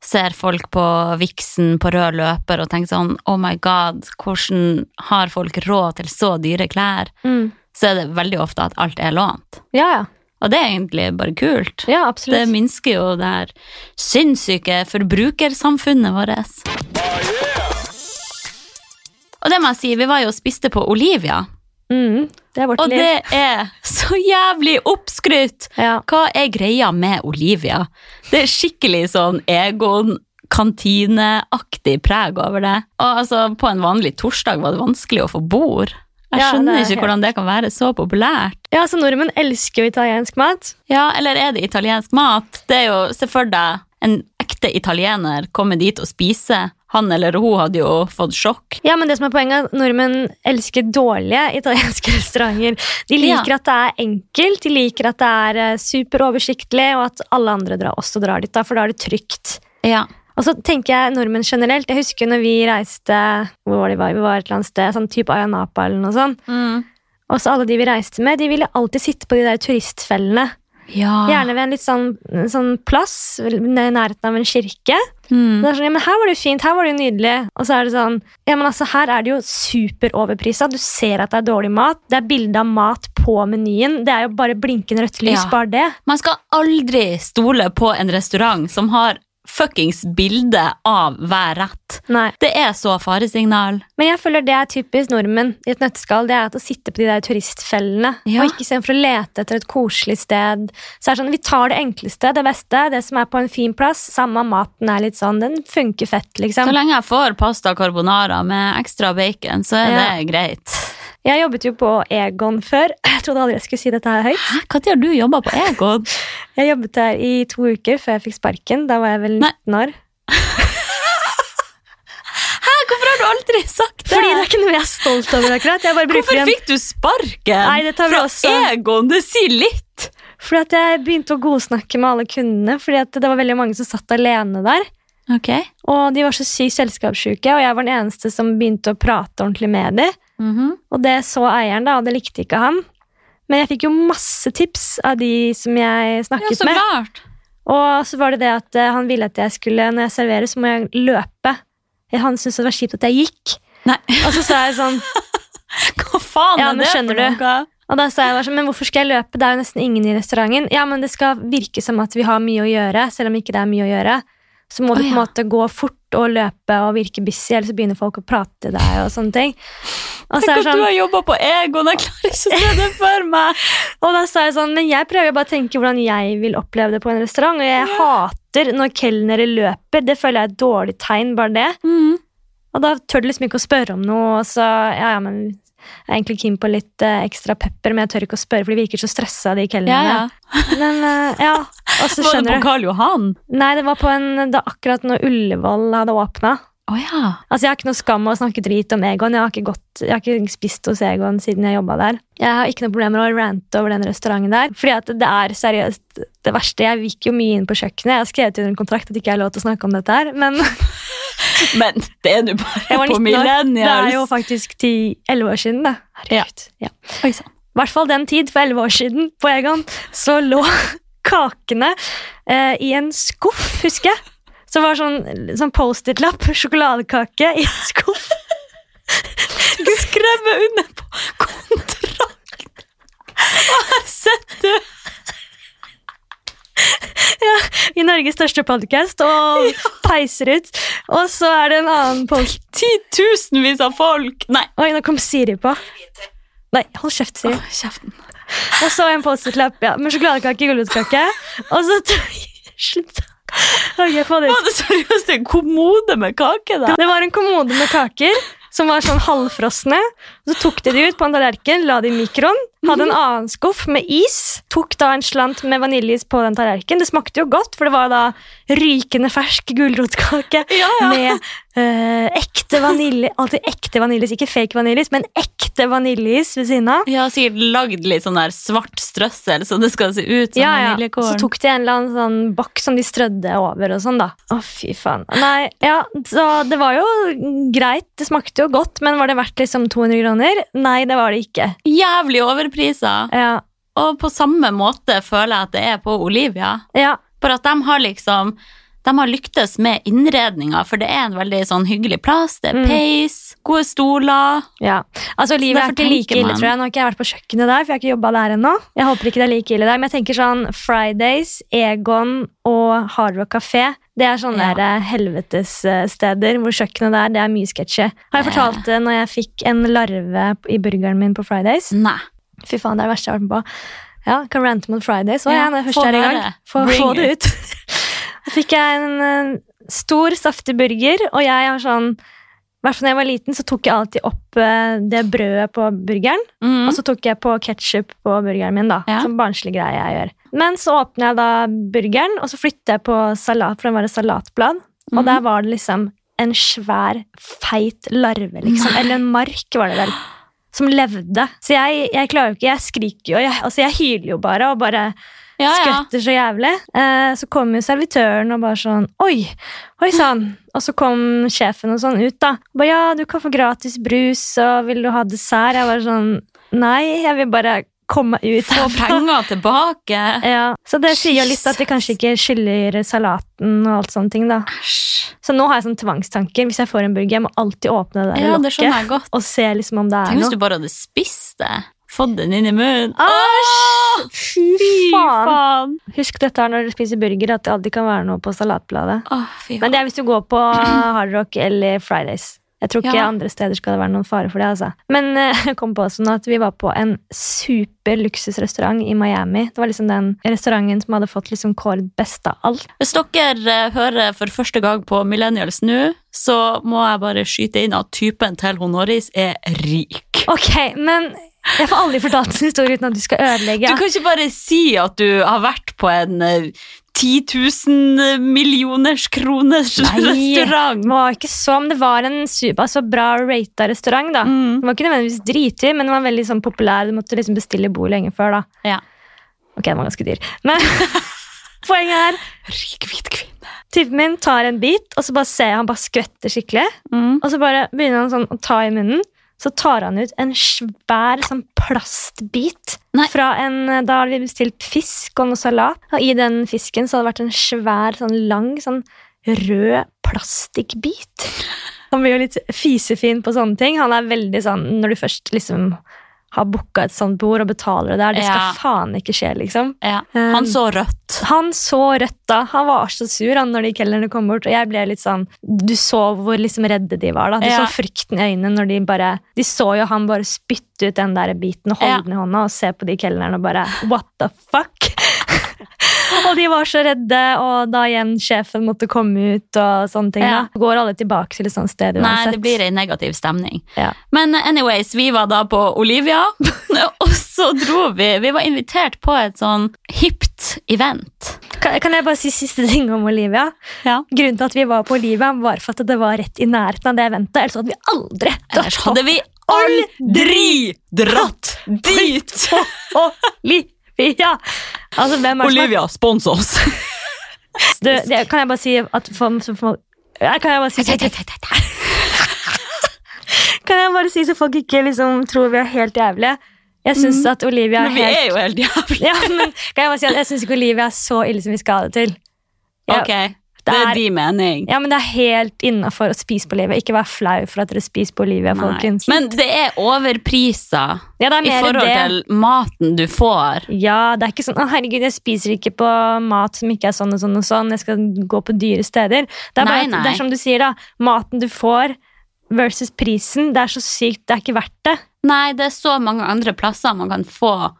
B: ser folk på Vixen på rød løper og tenker sånn Oh my god, hvordan har folk råd til så dyre klær?
A: Mm.
B: Så er det veldig ofte at alt er lånt.
A: Ja, ja.
B: Og det er egentlig bare kult.
A: Ja,
B: Det
A: absolutt.
B: minsker jo det her sinnssyke forbrukersamfunnet vårt. Og det må jeg si, vi var jo og spiste på Olivia.
A: mm. det er vårt
B: Og
A: liv.
B: det er så jævlig oppskrytt!
A: Ja.
B: Hva er greia med Olivia? Det er skikkelig sånn Egon kantineaktig preg over det. Og altså, på en vanlig torsdag var det vanskelig å få bord. Jeg
A: Ja,
B: skjønner
A: det er
B: ikke
A: helt-
B: hvordan det kan være så populært.
A: ja, så nordmenn elsker jo italiensk mat.
B: Ja, eller er det italiensk mat? Det er jo, se for deg, en ekte italiener komme dit og spise. Han eller hun hadde jo fått sjokk.
A: Ja, men det som er poenget er at Nordmenn elsker dårlige italienske restauranter. De
B: Ja.
A: liker at det er enkelt, de liker at det er eh, superoversiktlig, og at alle andre drar, også drar dit, da, for da er det trygt.
B: Ja.
A: Og så tenker jeg nordmenn generelt. Jeg husker når vi reiste hvor var det vi var, vi var et eller annet sted, sånn type Ayanapa eller noe sånt.
B: Mm.
A: Og så alle de vi reiste med, de ville alltid sitte på de der turistfellene.
B: Ja.
A: Gjerne ved en litt sånn, en sånn plass vel, nær- i nærheten av en kirke. Det
B: Mm.
A: er sånn, ja, men Her var det jo fint, her var det jo nydelig. Og så er det sånn Ja, men altså, her er det jo superoverprisa. Du ser at det er dårlig mat. Det er bilde av mat på menyen. Det er jo bare blinkende rødt lys,
B: Ja.
A: bare det.
B: Man skal aldri stole på en restaurant som har fuckings bilde av hver rett.
A: Nei.
B: Det er så faresignal.
A: Men jeg føler det er typisk nordmenn i et nøtteskall. Det er at å sitte på de der turistfellene.
B: Ja.
A: Og ikke istedenfor å lete etter et koselig sted. Så er det sånn, Vi tar det enkleste, det beste, det som er på en fin plass. Samme om maten er litt sånn, den funker fett,
B: Så
A: liksom.
B: lenge jeg får pasta carbonara med ekstra bacon, så er
A: Ja.
B: det greit.
A: Jeg jobbet jo på Egon før. Jeg trodde aldri jeg skulle si dette her høyt.
B: Hæ, når har du jobba på Egon?
A: Jeg jobbet der i to uker før jeg fikk sparken. Da var jeg vel
B: Nei.
A: 19 år.
B: Hvorfor har du aldri sagt det?
A: Fordi det er ikke noe jeg er stolt over, akkurat. Jeg bare bruker
B: Hvorfor
A: en,
B: fikk du sparken
A: Nei, det tar vi
B: fra
A: også.
B: Egon? Det sier litt!
A: fordi at jeg begynte å godsnakke med alle kundene, fordi at det var veldig mange som satt alene der.
B: Ok.
A: Og de var så sykt selskapssjuke, og jeg var den eneste som begynte å prate ordentlig med dem. Og det så eieren, da, og det likte ikke han. Men jeg fikk jo masse tips av de som jeg
B: Ja,
A: snakket
B: så
A: med.
B: klart.
A: Og så var det det at eh, han ville at jeg skulle, når jeg serverer, så må jeg løpe. Han syntes det var kjipt at jeg gikk.
B: Nei.
A: Og så sa jeg sånn,
B: Hva faen
A: Ja,
B: er
A: nå
B: det
A: skjønner
B: for
A: du.
B: noe?
A: og da sa jeg bare sånn, men hvorfor skal jeg løpe? Det er jo nesten ingen i restauranten. Ja, men det skal virke som at vi har mye å gjøre, selv om ikke det er mye å gjøre. Så må
B: Å,
A: du på en
B: ja.
A: måte gå fort og løpe og virke busy, ellers så begynner folk å prate til deg og sånne ting. Og så er
B: Tenk
A: det
B: at du
A: sånn,
B: har jobba på Egon, jeg klarer ikke å se det for meg!
A: Og da sa jeg sånn, men jeg prøver jo bare å tenke hvordan jeg vil oppleve det på en restaurant, og jeg hater når kelnere løper. Det føler jeg er et dårlig tegn, bare det.
B: Mm.
A: Og da tør du liksom ikke å spørre om noe, og så ja, ja, men jeg er egentlig keen på litt eh, ekstra pepper, men jeg tør ikke å spørre, for de virker så stressa, de kelnerne.
B: Ja, ja.
A: Men eh, ja, og så
B: Var det på
A: skjønner du.
B: Karl Johan?
A: Nei, det var på en, da akkurat når Ullevål hadde åpna.
B: Å ja.
A: Altså, Jeg har ikke noe skam av å snakke drit om Egon. Jeg har ikke, gått, jeg har ikke spist hos Egon siden jeg jobba der. Jeg har ikke noe problem med å rante over den restauranten der. Fordi at det er seriøst det verste. Jeg gikk jo mye inn på kjøkkenet. Jeg har skrevet under en kontrakt at ikke jeg har lov til å snakke om dette her. Men
B: Men det er du bare
A: jeg var
B: på
A: 19 år. Det er jo
B: millennials.
A: faktisk 10-11 år siden, da. Herregud. Ja.
B: Oi, sann.
A: I hvert fall den tid, for 11 år siden, på Egon, så lå kakene eh, i en skuff, husker jeg. Så det var sånn, sånn Post-It-lapp, sjokoladekake i en skuff.
B: Skrevet under på kontrakt! Og her sitter du!
A: i Norges største podcast og peiser ut. Og så er det en annen post...
B: Titusenvis av folk! Nei,
A: Oi, nå kom Siri på. Nei, hold kjeft, Siri.
B: Åh, kjeften.
A: Og så en Post-It-lapp ja, med sjokoladekake og gulrotkake. Og så Slutt. Ok, få det
B: Var
A: ut.
B: det seriøst en kommode med kake, da?
A: Det var en kommode med kaker som var sånn halvfrosne. Og Så tok de de ut på en tallerken, la de i mikroen, hadde en annen skuff med is. Tok da en slant med vaniljeis på den tallerkenen. Det smakte jo godt, for det var da rykende fersk gulrotkake
B: Ja, ja.
A: med eh, ekte vanilje Alltid ekte vaniljeis, ikke fake vaniljeis, men ekte vaniljeis ved siden av.
B: Jeg har sikkert lagd litt sånn der svart strøssel, så det skal se ut som
A: Ja, ja.
B: vaniljekorn.
A: Så tok de en eller annen sånn bokk som de strødde over og sånn, da. Å, fy faen. Nei, ja, så det var jo greit. Det smakte jo godt, men var det verdt liksom 200 kroner? Nei, det var det ikke.
B: Jævlig overpriser.
A: Ja.
B: Og på samme måte føler jeg at det er på Olivia.
A: ja.
B: Bare at de har liksom De har lyktes med innredninga, for det er en veldig sånn hyggelig plass. Det er
A: Mm.
B: peis, gode stoler.
A: Ja, altså Livet er
B: derfor
A: ikke like
B: tenker
A: ille,
B: man-
A: tror jeg. Nå har ikke jeg vært på kjøkkenet der, for jeg har ikke jobba der ennå. Jeg håper ikke det er like ille der, men jeg tenker sånn Fridays, Egon og Hard Rock Café. Det er sånne
B: Ja.
A: der eh, helvetessteder hvor kjøkkenet der det er mye sketsjy. Har jeg
B: Det-
A: fortalt det når jeg fikk en larve i burgeren min på Fridays?
B: Nei.
A: Fy faen, det er det verste jeg har vært med på. Ja, kan rante mot Fridays. Å,
B: Ja,
A: ja, når jeg
B: få
A: først er i gang.
B: høre.
A: Få,
B: Bring
A: få det ut. Da fikk jeg en, eh, stor, saftig burger, og jeg har sånn i hvert fall da jeg var liten, så tok jeg alltid opp eh, det brødet på burgeren.
B: Mm.
A: Og så tok jeg på ketsjup på burgeren min, da.
B: Ja.
A: Sånn barnslig greie jeg gjør. Men så åpner jeg da burgeren, og så flytter jeg på salat, for den var et salatblad. Og
B: Mhm.
A: der var det liksom en svær, feit larve, liksom. Eller en mark, var det vel. Som levde. Så jeg, jeg klarer jo ikke, jeg skriker jo, jeg, altså jeg hyler jo bare, og bare
B: ja, ja.
A: skvetter så jævlig. Eh, så kom jo servitøren og bare sånn Oi! Oi sann! Og så kom sjefen og sånn ut, da. Bare ja, du kan få gratis brus, og vil du ha dessert? Jeg var sånn Nei, jeg vil bare komme meg ut.
B: Få
A: herfra.
B: penger tilbake.
A: Ja, så det sier jo litt at vi kanskje ikke skylder salaten og alt sånne ting, da.
B: Æsj.
A: Så nå har jeg sånn tvangstanker. Hvis jeg får en burger, jeg må alltid åpne det der
B: Ja, det
A: lokket
B: skjønner jeg godt.
A: og se liksom om det er
B: Tenk hvis
A: noe.
B: du bare hadde spist det. Fått den inn i munnen.
A: Æsj! Fy
B: Fy
A: faen!
B: faen!
A: Husk dette her når du spiser burger, at det aldri kan være noe på salatbladet.
B: Åh, fy
A: Men det er hvis du går på Hard Rock eller Fridays. Jeg tror ikke
B: Ja.
A: andre steder skal det være noen fare for det. altså. Men eh, jeg kom på sånn at vi var på en super luksusrestaurant i Miami. Det var liksom den restauranten som hadde fått liksom kåret best av alt.
B: Hvis dere eh, hører for første gang på Millennials nå, så må jeg bare skyte inn at typen til hun Norris er rik.
A: Ok, men jeg får aldri fortalt en historie uten at du skal ødelegge.
B: Du kan ikke bare si at du har vært på en eh, 10 000 millioners kroners
A: Nei.
B: restaurant.
A: Det var ikke så, men det var en super, altså bra rata restaurant. da.
B: Mm.
A: Den var ikke nødvendigvis dritdyr, men den var veldig sånn populær. Du måtte liksom bestille bord lenge før. da.
B: Ja.
A: Ok, den var ganske dyr. Men poenget er
B: Rik hvit kvinne.
A: Typen min tar en bit, og så bare ser jeg han bare skvetter skikkelig.
B: Mm.
A: Og så bare begynner han sånn å ta i munnen. Så tar han ut en svær sånn plastbit.
B: Nei.
A: Fra en, da hadde vi bestilt fisk og noe salat. Og i den fisken så hadde det vært en svær, sånn lang, sånn rød plastikkbit. Han blir jo litt fisefin på sånne ting. Han er veldig sånn Når du først liksom har booka et sånt bord og betaler det der, det
B: Ja.
A: skal faen ikke skje, liksom.
B: Ja.
A: Um,
B: Han så rødt.
A: Han så rødt da. Han var så sur han, når de kelnerne kom bort. Og jeg ble litt sånn Du så hvor liksom redde de var. da Du
B: Ja.
A: så frykten i øynene når de bare De så jo han bare spytte ut den der biten og holde
B: Ja.
A: den i hånda og se på de kelnerne og bare What the fuck? og de var så redde, og da igjen sjefen måtte komme ut og sånne ting.
B: Ja.
A: da Går alle tilbake til et sånt sted
B: Nei,
A: uansett?
B: det blir en negativ stemning.
A: Ja.
B: Men anyways, vi var da på Olivia, og så dro vi. Vi var invitert på et sånn hipt event.
A: kan, kan jeg bare si siste ting om Olivia?
B: Ja.
A: Grunnen til at vi var på Olivia, var for at det var rett i nærheten av det eventet. Ellers hadde vi aldri
B: Ellers
A: dratt på
B: hadde vi aldri dratt dit!
A: Olivia! Altså, hvem er det som er-
B: spons oss!
A: Du, det, kan jeg bare si at for, for, for, Nei, kan jeg bare si så, Kan jeg bare si så folk ikke liksom tror vi er helt jævlige? Jeg syns at Olivia er
B: Mm. Men vi
A: helt
B: er jo helt jævlig.
A: ja, men, Kan jeg bare si at jeg syns ikke Olivia er så ille som vi skal ha det til. Ja,
B: Ok, det
A: er-
B: er din mening.
A: Ja, men det er helt innafor å spise på Olivia. Ikke vær flau for at dere spiser på Olivia,
B: Nei.
A: folkens.
B: Men det er overpriser
A: ja, det er
B: i
A: mer
B: forhold
A: det.
B: til maten du får.
A: Ja, det er ikke sånn 'Å, herregud, jeg spiser ikke på mat som ikke er sånn og sånn og sånn', jeg skal gå på dyre steder. Det er, bare,
B: Nei,
A: at-
B: nei.
A: Det er som du sier, da. Maten du får versus prisen. Det er så sykt, det er ikke verdt det.
B: Nei, det er så mange andre plasser man kan få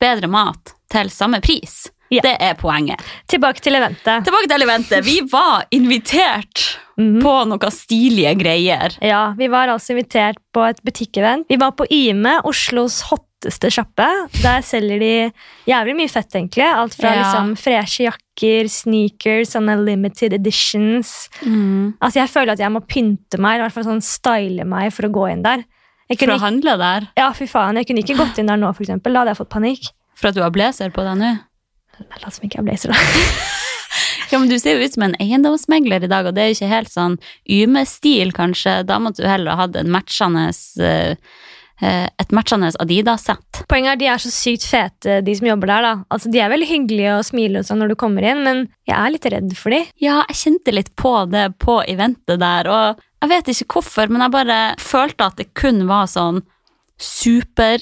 B: bedre mat til samme pris.
A: Ja.
B: Det er poenget.
A: Tilbake til eventet.
B: Tilbake til eventet. Vi var invitert
A: Mhm.
B: på noen stilige greier.
A: Ja, vi var altså invitert på et butikkevent. Vi var på Yme, Oslos hotteste sjappe. Der selger de jævlig mye fett, egentlig. Alt fra
B: Ja.
A: liksom freshe jakker, sneakers, sånne limited editions.
B: Mm.
A: Altså, jeg føler at jeg må pynte meg, i hvert fall sånn style meg for å gå inn der. Jeg
B: For
A: kunne
B: å handle der.
A: Ja, fy faen, jeg kunne ikke gått inn der nå, for eksempel. Da hadde jeg fått panikk.
B: For at du har blazer på deg nå.
A: Men La oss ikke ha blazer, da.
B: Ja, men Du ser jo ut som en eiendomsmegler i dag, og det er jo ikke helt sånn Yme-stil, kanskje. Da måtte du heller ha hatt en matchende eh, eh, et matchende Adidas-sett.
A: Poenget er de er så sykt fete, de som jobber der, da. Altså, de er veldig hyggelige og smiler og sånn når du kommer inn, men jeg er litt redd for de.
B: Ja, jeg kjente litt på det på eventet der, og jeg vet ikke hvorfor, men jeg bare følte at det kun var sånn super,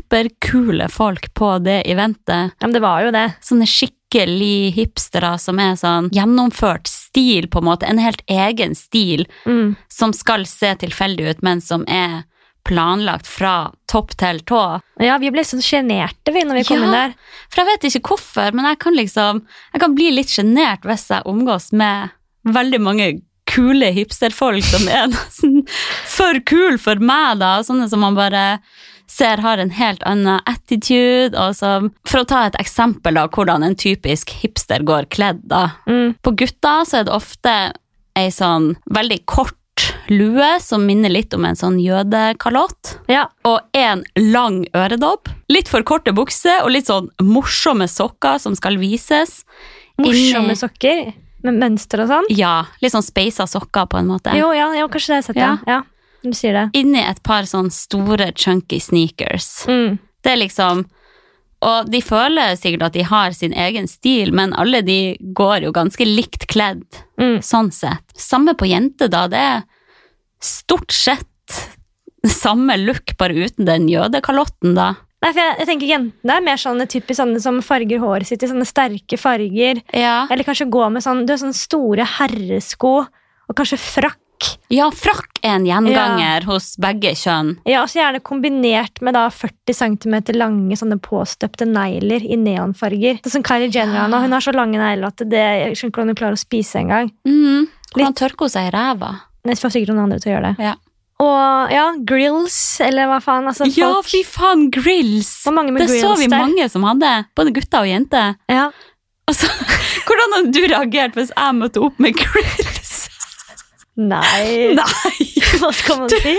B: superkule folk på det eventet.
A: Ja, men det var jo det.
B: sånne skikkelig hipstere som er sånn gjennomført stil, på en måte. En helt egen stil
A: Mm.
B: som skal se tilfeldig ut, men som er planlagt fra topp til tå.
A: Ja, vi ble sånn sjenerte, vi, når vi kom
B: Ja.
A: inn der.
B: For jeg vet ikke hvorfor, men jeg kan liksom Jeg kan bli litt sjenert hvis jeg omgås med veldig mange kule hipsterfolk som er nesten for kule for meg, da. Sånne som man bare ser har en helt annen attitude, og som For å ta et eksempel av hvordan en typisk hipster går kledd, da.
A: Mm.
B: På gutta så er det ofte ei sånn veldig kort lue som minner litt om en sånn jødekalott
A: Ja.
B: og en lang øredobb. Litt for korte bukser og litt sånn morsomme sokker som skal vises.
A: Morsomme
B: Inni-
A: sokker med mønster og sånn.
B: Ja, litt sånn speisa sokker på en måte.
A: Jo, ja, ja, kanskje det har jeg sett, ja.
B: Ja.
A: ja. Du sier det.
B: Inni et par sånn store chunky sneakers.
A: Mm.
B: Det er liksom Og de føler sikkert at de har sin egen stil, men alle de går jo ganske likt kledd,
A: Mm.
B: sånn sett. Samme på jenter, da. Det er stort sett samme look, bare uten den jødekalotten, da.
A: Nei, for jeg, jeg tenker Jentene er mer sånne typisk sånne som farger håret sitt i sånne sterke farger.
B: Ja,
A: Eller kanskje gå med sånn, du har sånne store herresko og kanskje frakk.
B: ja frakk er en gjenganger hos begge kjønn.
A: Ja, også Gjerne kombinert med da 40 cm lange sånne påstøpte negler i neonfarger. Sånn som Kylie Jenner har nå, Hun har så lange negler at det, jeg skjønner ikke hvordan hun klarer å spise engang.
B: Mm. Hvordan tørker hun seg i ræva?
A: Men Jeg får sikkert noen andre til å gjøre det.
B: Ja.
A: Og ja, grills, eller hva faen. Altså, folk,
B: Ja, fy faen, grills!
A: det var mange med
B: Det så
A: grills
B: vi
A: der.
B: mange som hadde, både gutter og jenter.
A: Ja.
B: Altså, hvordan hadde du reagert hvis jeg møtte opp med grills?
A: Nei.
B: Nei!
A: Hva skal man si?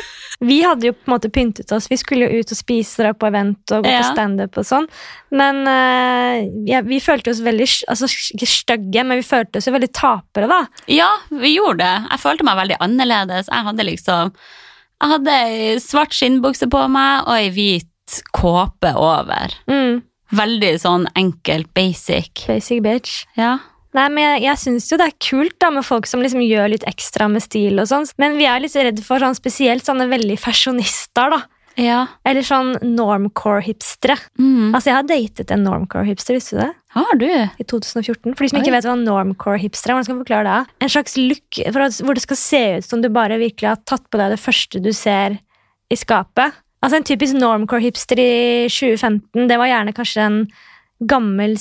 A: Vi hadde jo på en måte pyntet oss. Vi skulle jo ut og spise dra på event og gå
B: Ja.
A: på standup og sånn. Men eh, ja, vi følte oss veldig sk- altså, sk- ikke stygge, men vi følte oss jo veldig tapere, da.
B: Ja, vi gjorde det. Jeg følte meg veldig annerledes. Jeg hadde liksom Jeg hadde ei svart skinnbukse på meg og ei hvit kåpe over.
A: Mm.
B: Veldig sånn enkelt, basic.
A: Basic bitch.
B: Ja.
A: Nei, men jeg, jeg syns jo det er kult da med folk som liksom gjør litt ekstra med stil og sånn, men vi er litt redd for sånn spesielt sånne veldig fashionister, da.
B: Ja.
A: Eller sånn normcore-hipstere.
B: Mm.
A: Altså, jeg har datet en normcore-hipster, visste du det?
B: Har du?
A: i 2014. For de som
B: Oi.
A: ikke vet hva normcore hipster er, hvordan skal jeg forklare det? En slags look for at, hvor det skal se ut som du bare virkelig har tatt på deg det første du ser i skapet. Altså En typisk normcore hipster i 2015, det var gjerne kanskje en gammel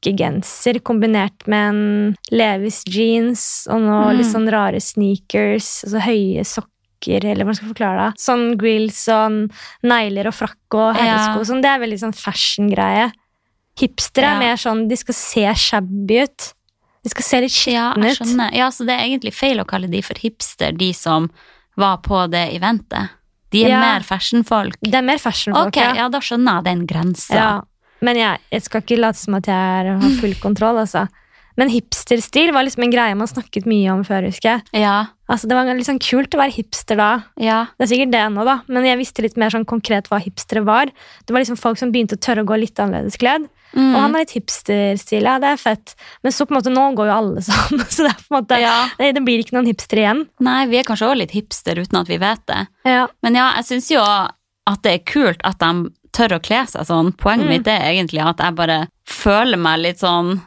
A: strikkegenser kombinert med en Levis jeans og noe
B: Mm.
A: litt sånn rare sneakers, altså høye sokker, eller hvordan skal jeg forklare det? Sånn grills og negler og frakk og
B: Ja.
A: herresko og sånn. Det er veldig sånn fashion-greie. Hipstere
B: Ja.
A: er mer sånn de skal se shabby ut. De skal se litt
B: Ja,
A: skitne
B: jeg
A: ut.
B: skjønner. Ja, så det er egentlig feil å kalle de for hipster, de som var på det eventet. De er
A: Ja.
B: mer fashionfolk.
A: det er mer fashion-folk,
B: Ok, ja, da skjønner jeg den grensa.
A: Ja. Men jeg, jeg skal ikke late som at jeg er, har full kontroll, altså. Men hipsterstil var liksom en greie man snakket mye om før, husker jeg.
B: ja.
A: Altså, det var litt sånn kult å være hipster da.
B: ja.
A: Det er sikkert det nå, da, men jeg visste litt mer sånn konkret hva hipstere var. Det var liksom folk som begynte å tørre å gå litt annerledes kledd.
B: Mm.
A: Og han har litt hipsterstil, ja, det er fett. Men så på en måte, nå går jo alle sånn, så det er på en måte
B: ja.
A: Nei, Det blir ikke noen hipster igjen.
B: Nei, vi er kanskje også litt hipster uten at vi vet det.
A: Ja.
B: Men ja, jeg syns jo at det er kult at de tør å kle seg sånn. Poenget
A: Mm.
B: mitt er egentlig at jeg bare føler meg litt sånn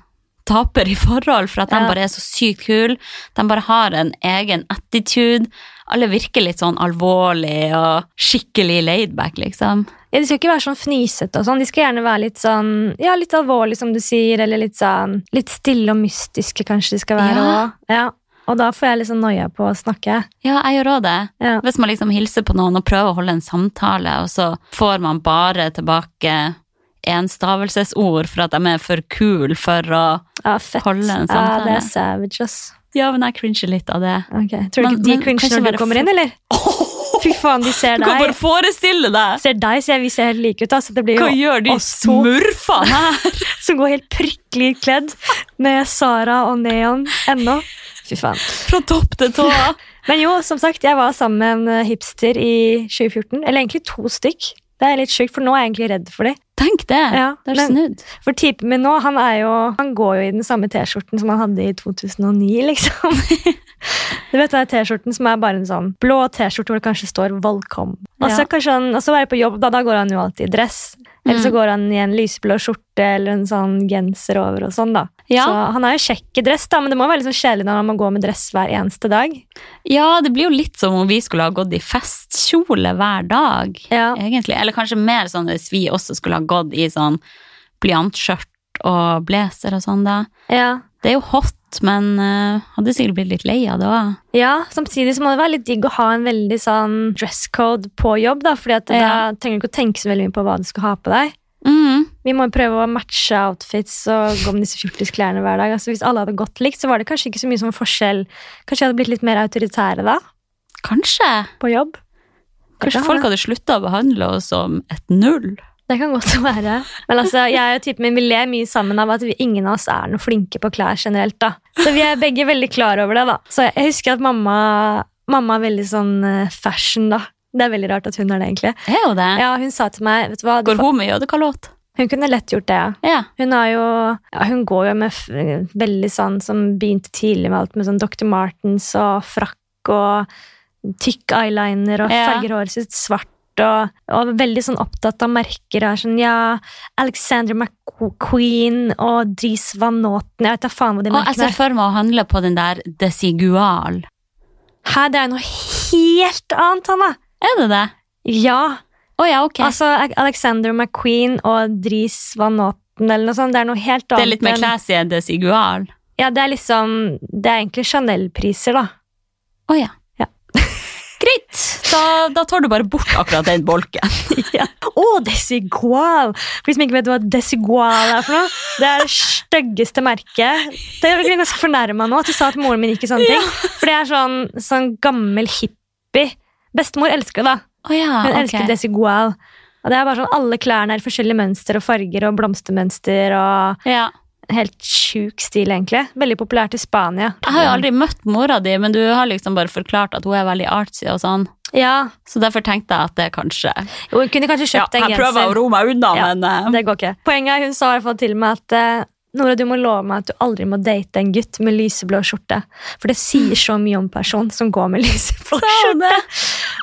B: taper i forhold, for at de
A: Ja.
B: bare er så sykt kule. De bare har en egen attitude. Alle virker litt sånn alvorlig og skikkelig laidback, liksom.
A: Ja, De skal ikke være sånn fnisete og sånn. De skal gjerne være litt sånn, ja, litt alvorlig, som du sier, eller litt sånn, litt stille og mystiske kanskje de skal være
B: Ja.
A: også. Ja. Og da får jeg liksom noia på å snakke.
B: Ja, jeg gjør òg det.
A: Ja.
B: Hvis man liksom hilser på noen og prøver å holde en samtale, og så får man bare tilbake enstavelsesord for at de er for kule for å
A: Ja, fett.
B: Holde en
A: Ja, det
B: samtale.
A: er savage, ass.
B: Ja, men jeg cringer litt av det.
A: Ok, Tror du
B: Men-
A: ikke de
B: men kan
A: cringer
B: ikke
A: når
B: være
A: du kommer
B: for-
A: inn, eller? Fy faen, de ser
B: Du kan bare
A: deg.
B: forestille deg!
A: Ser deg, ser vi ser helt like ut, ass. Det blir
B: Hva
A: jo
B: gjør de
A: oss to
B: smurfene her?
A: som går helt prikkelig kledd med Sara og Neon ennå. Fy faen.
B: Fra topp til tå?
A: Men jo, som sagt, jeg var sammen med en eh, hipster i 2014. Eller egentlig to stykk. Det er litt sjukt, for nå er jeg egentlig redd for dem.
B: Tenk det!
A: Ja,
B: det er
A: men-
B: snudd.
A: For typen min nå, han, er jo, han går jo i den samme T-skjorten som han hadde i 2009, liksom. Du vet den T-skjorten som er bare en sånn blå T-skjorte hvor det kanskje står 'Welcome'. Og så
B: Ja.
A: kanskje han, og så er jeg på jobb, da, da går han jo alltid i dress. Eller så
B: Mm.
A: går han i en lyseblå skjorte eller en sånn genser over og sånn, da.
B: Ja.
A: Så han er jo kjekk i dress, da, men det må være litt sånn kjedelig når han må gå med dress hver eneste dag.
B: Ja, det blir jo litt som om vi skulle ha gått i festkjole hver dag,
A: Ja.
B: egentlig. Eller kanskje mer sånn hvis vi også skulle ha gått i sånn blyantskjørt og blazer og sånn, da.
A: ja.
B: Det er jo hot, men eh, hadde sikkert blitt litt lei av det òg.
A: Ja, samtidig så må det være litt digg å ha en veldig sånn dresscode på jobb, da, fordi at
B: Ja.
A: da trenger du ikke å tenke så veldig mye på hva du skal ha på deg.
B: Mm.
A: Vi må jo prøve å matche outfits og gå med disse fjortisklærne hver dag. Altså, hvis alle hadde gått likt, så var det kanskje ikke så mye sånn forskjell. Kanskje jeg hadde blitt litt mer autoritære da,
B: Kanskje.
A: på jobb. Det
B: Kanskje
A: kan
B: folk
A: hende.
B: hadde slutta å behandle oss som et null.
A: Det kan godt være. Men altså, jeg og typen min vi ler mye sammen av at vi, ingen av oss er noe flinke på klær generelt. da. Så vi er begge veldig klar over det. da. Så jeg husker at mamma, mamma er veldig sånn eh, fashion, da. Det er veldig rart at hun er det, egentlig.
B: Er jo det.
A: Ja, hun sa til meg vet du hva, du
B: Går hun med jødekalott?
A: Hun kunne lett gjort det, ja.
B: Ja.
A: Hun, har jo, ja, hun går jo med f veldig sånn som begynte tidlig med alt med sånn Dr. Martens og frakk og tykk eyeliner og
B: Ja.
A: farger håret sitt svart. Og, og veldig sånn opptatt av merker. Og er sånn, ja, Alexander McQueen og Dries Van Noten. Jeg vet da faen hva de
B: Og jeg
A: merkene
B: ser
A: er.
B: for meg å altså, handle på den der Desigual.
A: Hæ, det er jo noe helt annet, Hanna!
B: Er det det?
A: Ja.
B: Å ja, ok.
A: Altså Alexander McQueen og Dries Van Noten eller noe sånt. Det er noe helt annet.
B: det er litt mer
A: enn-
B: classy enn Desigual.
A: Ja, det er liksom Det er egentlig Chanel-priser, da.
B: Å ja.
A: Ja.
B: Greit. Da, da tar du bare bort akkurat den bolken.
A: Ja. Å, desigual! For de som ikke vet hva desigual er for noe, det er det styggeste merket. Det er jeg ganske fornærma nå at du sa at moren min ikke sånne ting. For det er sånn, sånn gammel hippie. Bestemor elsker det, da.
B: Å ja,
A: Hun
B: Ah, ok.
A: elsker desigual. Og det er bare sånn, Alle klærne er forskjellige mønster og farger og blomstermønster. og
B: Ja.
A: Helt sjuk stil, egentlig. Veldig populært i Spania.
B: Jeg har jo aldri møtt mora di, men du har liksom bare forklart at hun er veldig artsy og sånn.
A: Ja,
B: Så derfor tenkte jeg at det kanskje
A: Jo, Hun kunne kanskje kjøpt en
B: jeg
A: genser.
B: prøver å roe meg unna,
A: Ja,
B: men eh,
A: Det går ikke. Poenget er, hun sa i hvert fall til meg at eh, Nora, du må love meg at du aldri må date en gutt med lyseblå skjorte. For det sier så mye om en person som går med lyseblå
B: Sa
A: skjorte.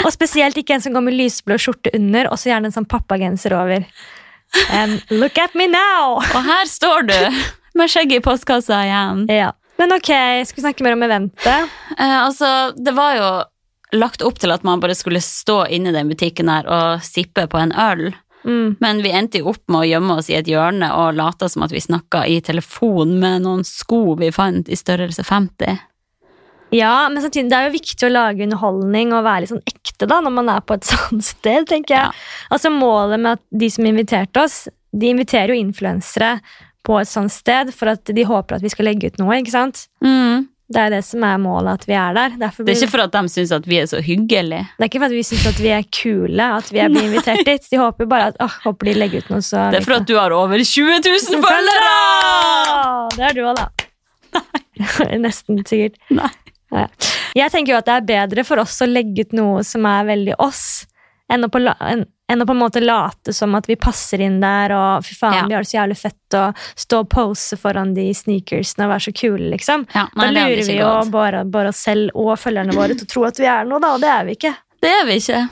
A: Og spesielt ikke en som går med lyseblå skjorte under, og så gjerne en sånn pappagenser over. And look at me now!
B: Og her står du med skjegget i postkassa igjen.
A: Ja. Men ok, skal vi snakke mer om eventet?
B: Eh, altså, det var jo lagt opp til at man bare skulle stå inne i den butikken her og sippe på en øl.
A: Mm.
B: Men vi endte jo opp med å gjemme oss i et hjørne og late som at vi snakka i telefon med noen sko vi fant i størrelse 50.
A: Ja, men samtidig, det er jo viktig å lage underholdning og være litt sånn ekte da, når man er på et sånt sted, tenker jeg.
B: Ja.
A: Altså målet med at de som inviterte oss, de inviterer jo influensere på et sånt sted, for at de håper at vi skal legge ut noe, ikke sant?
B: Mm.
A: Det er det som er målet, at vi er der. Derfor
B: Det
A: blir,
B: er ikke for at de syns at vi er så hyggelige.
A: det er ikke for at vi synes at vi er kule, at vi er blitt invitert dit. De håper jo bare at, åh, håper de legger ut noe, så...
B: Det er for at du har over 20 000 følgere!
A: Følgere! Det er du også da. Nesten sikkert.
B: Nei.
A: Ja. Jeg tenker jo at det er bedre for oss å legge ut noe som er veldig oss, enn å på, la- enn- enn å på en måte late som at vi passer inn der, og fy faen,
B: Ja.
A: vi har det så jævlig fett, og stå og pose foran de sneakersene og være så kule, liksom.
B: Ja, nei, det
A: da
B: hadde
A: lurer vi
B: ikke
A: jo
B: gått.
A: bare, bare oss selv og følgerne våre til å tro at vi er noe, da, og det er vi ikke.
B: Det er vi ikke.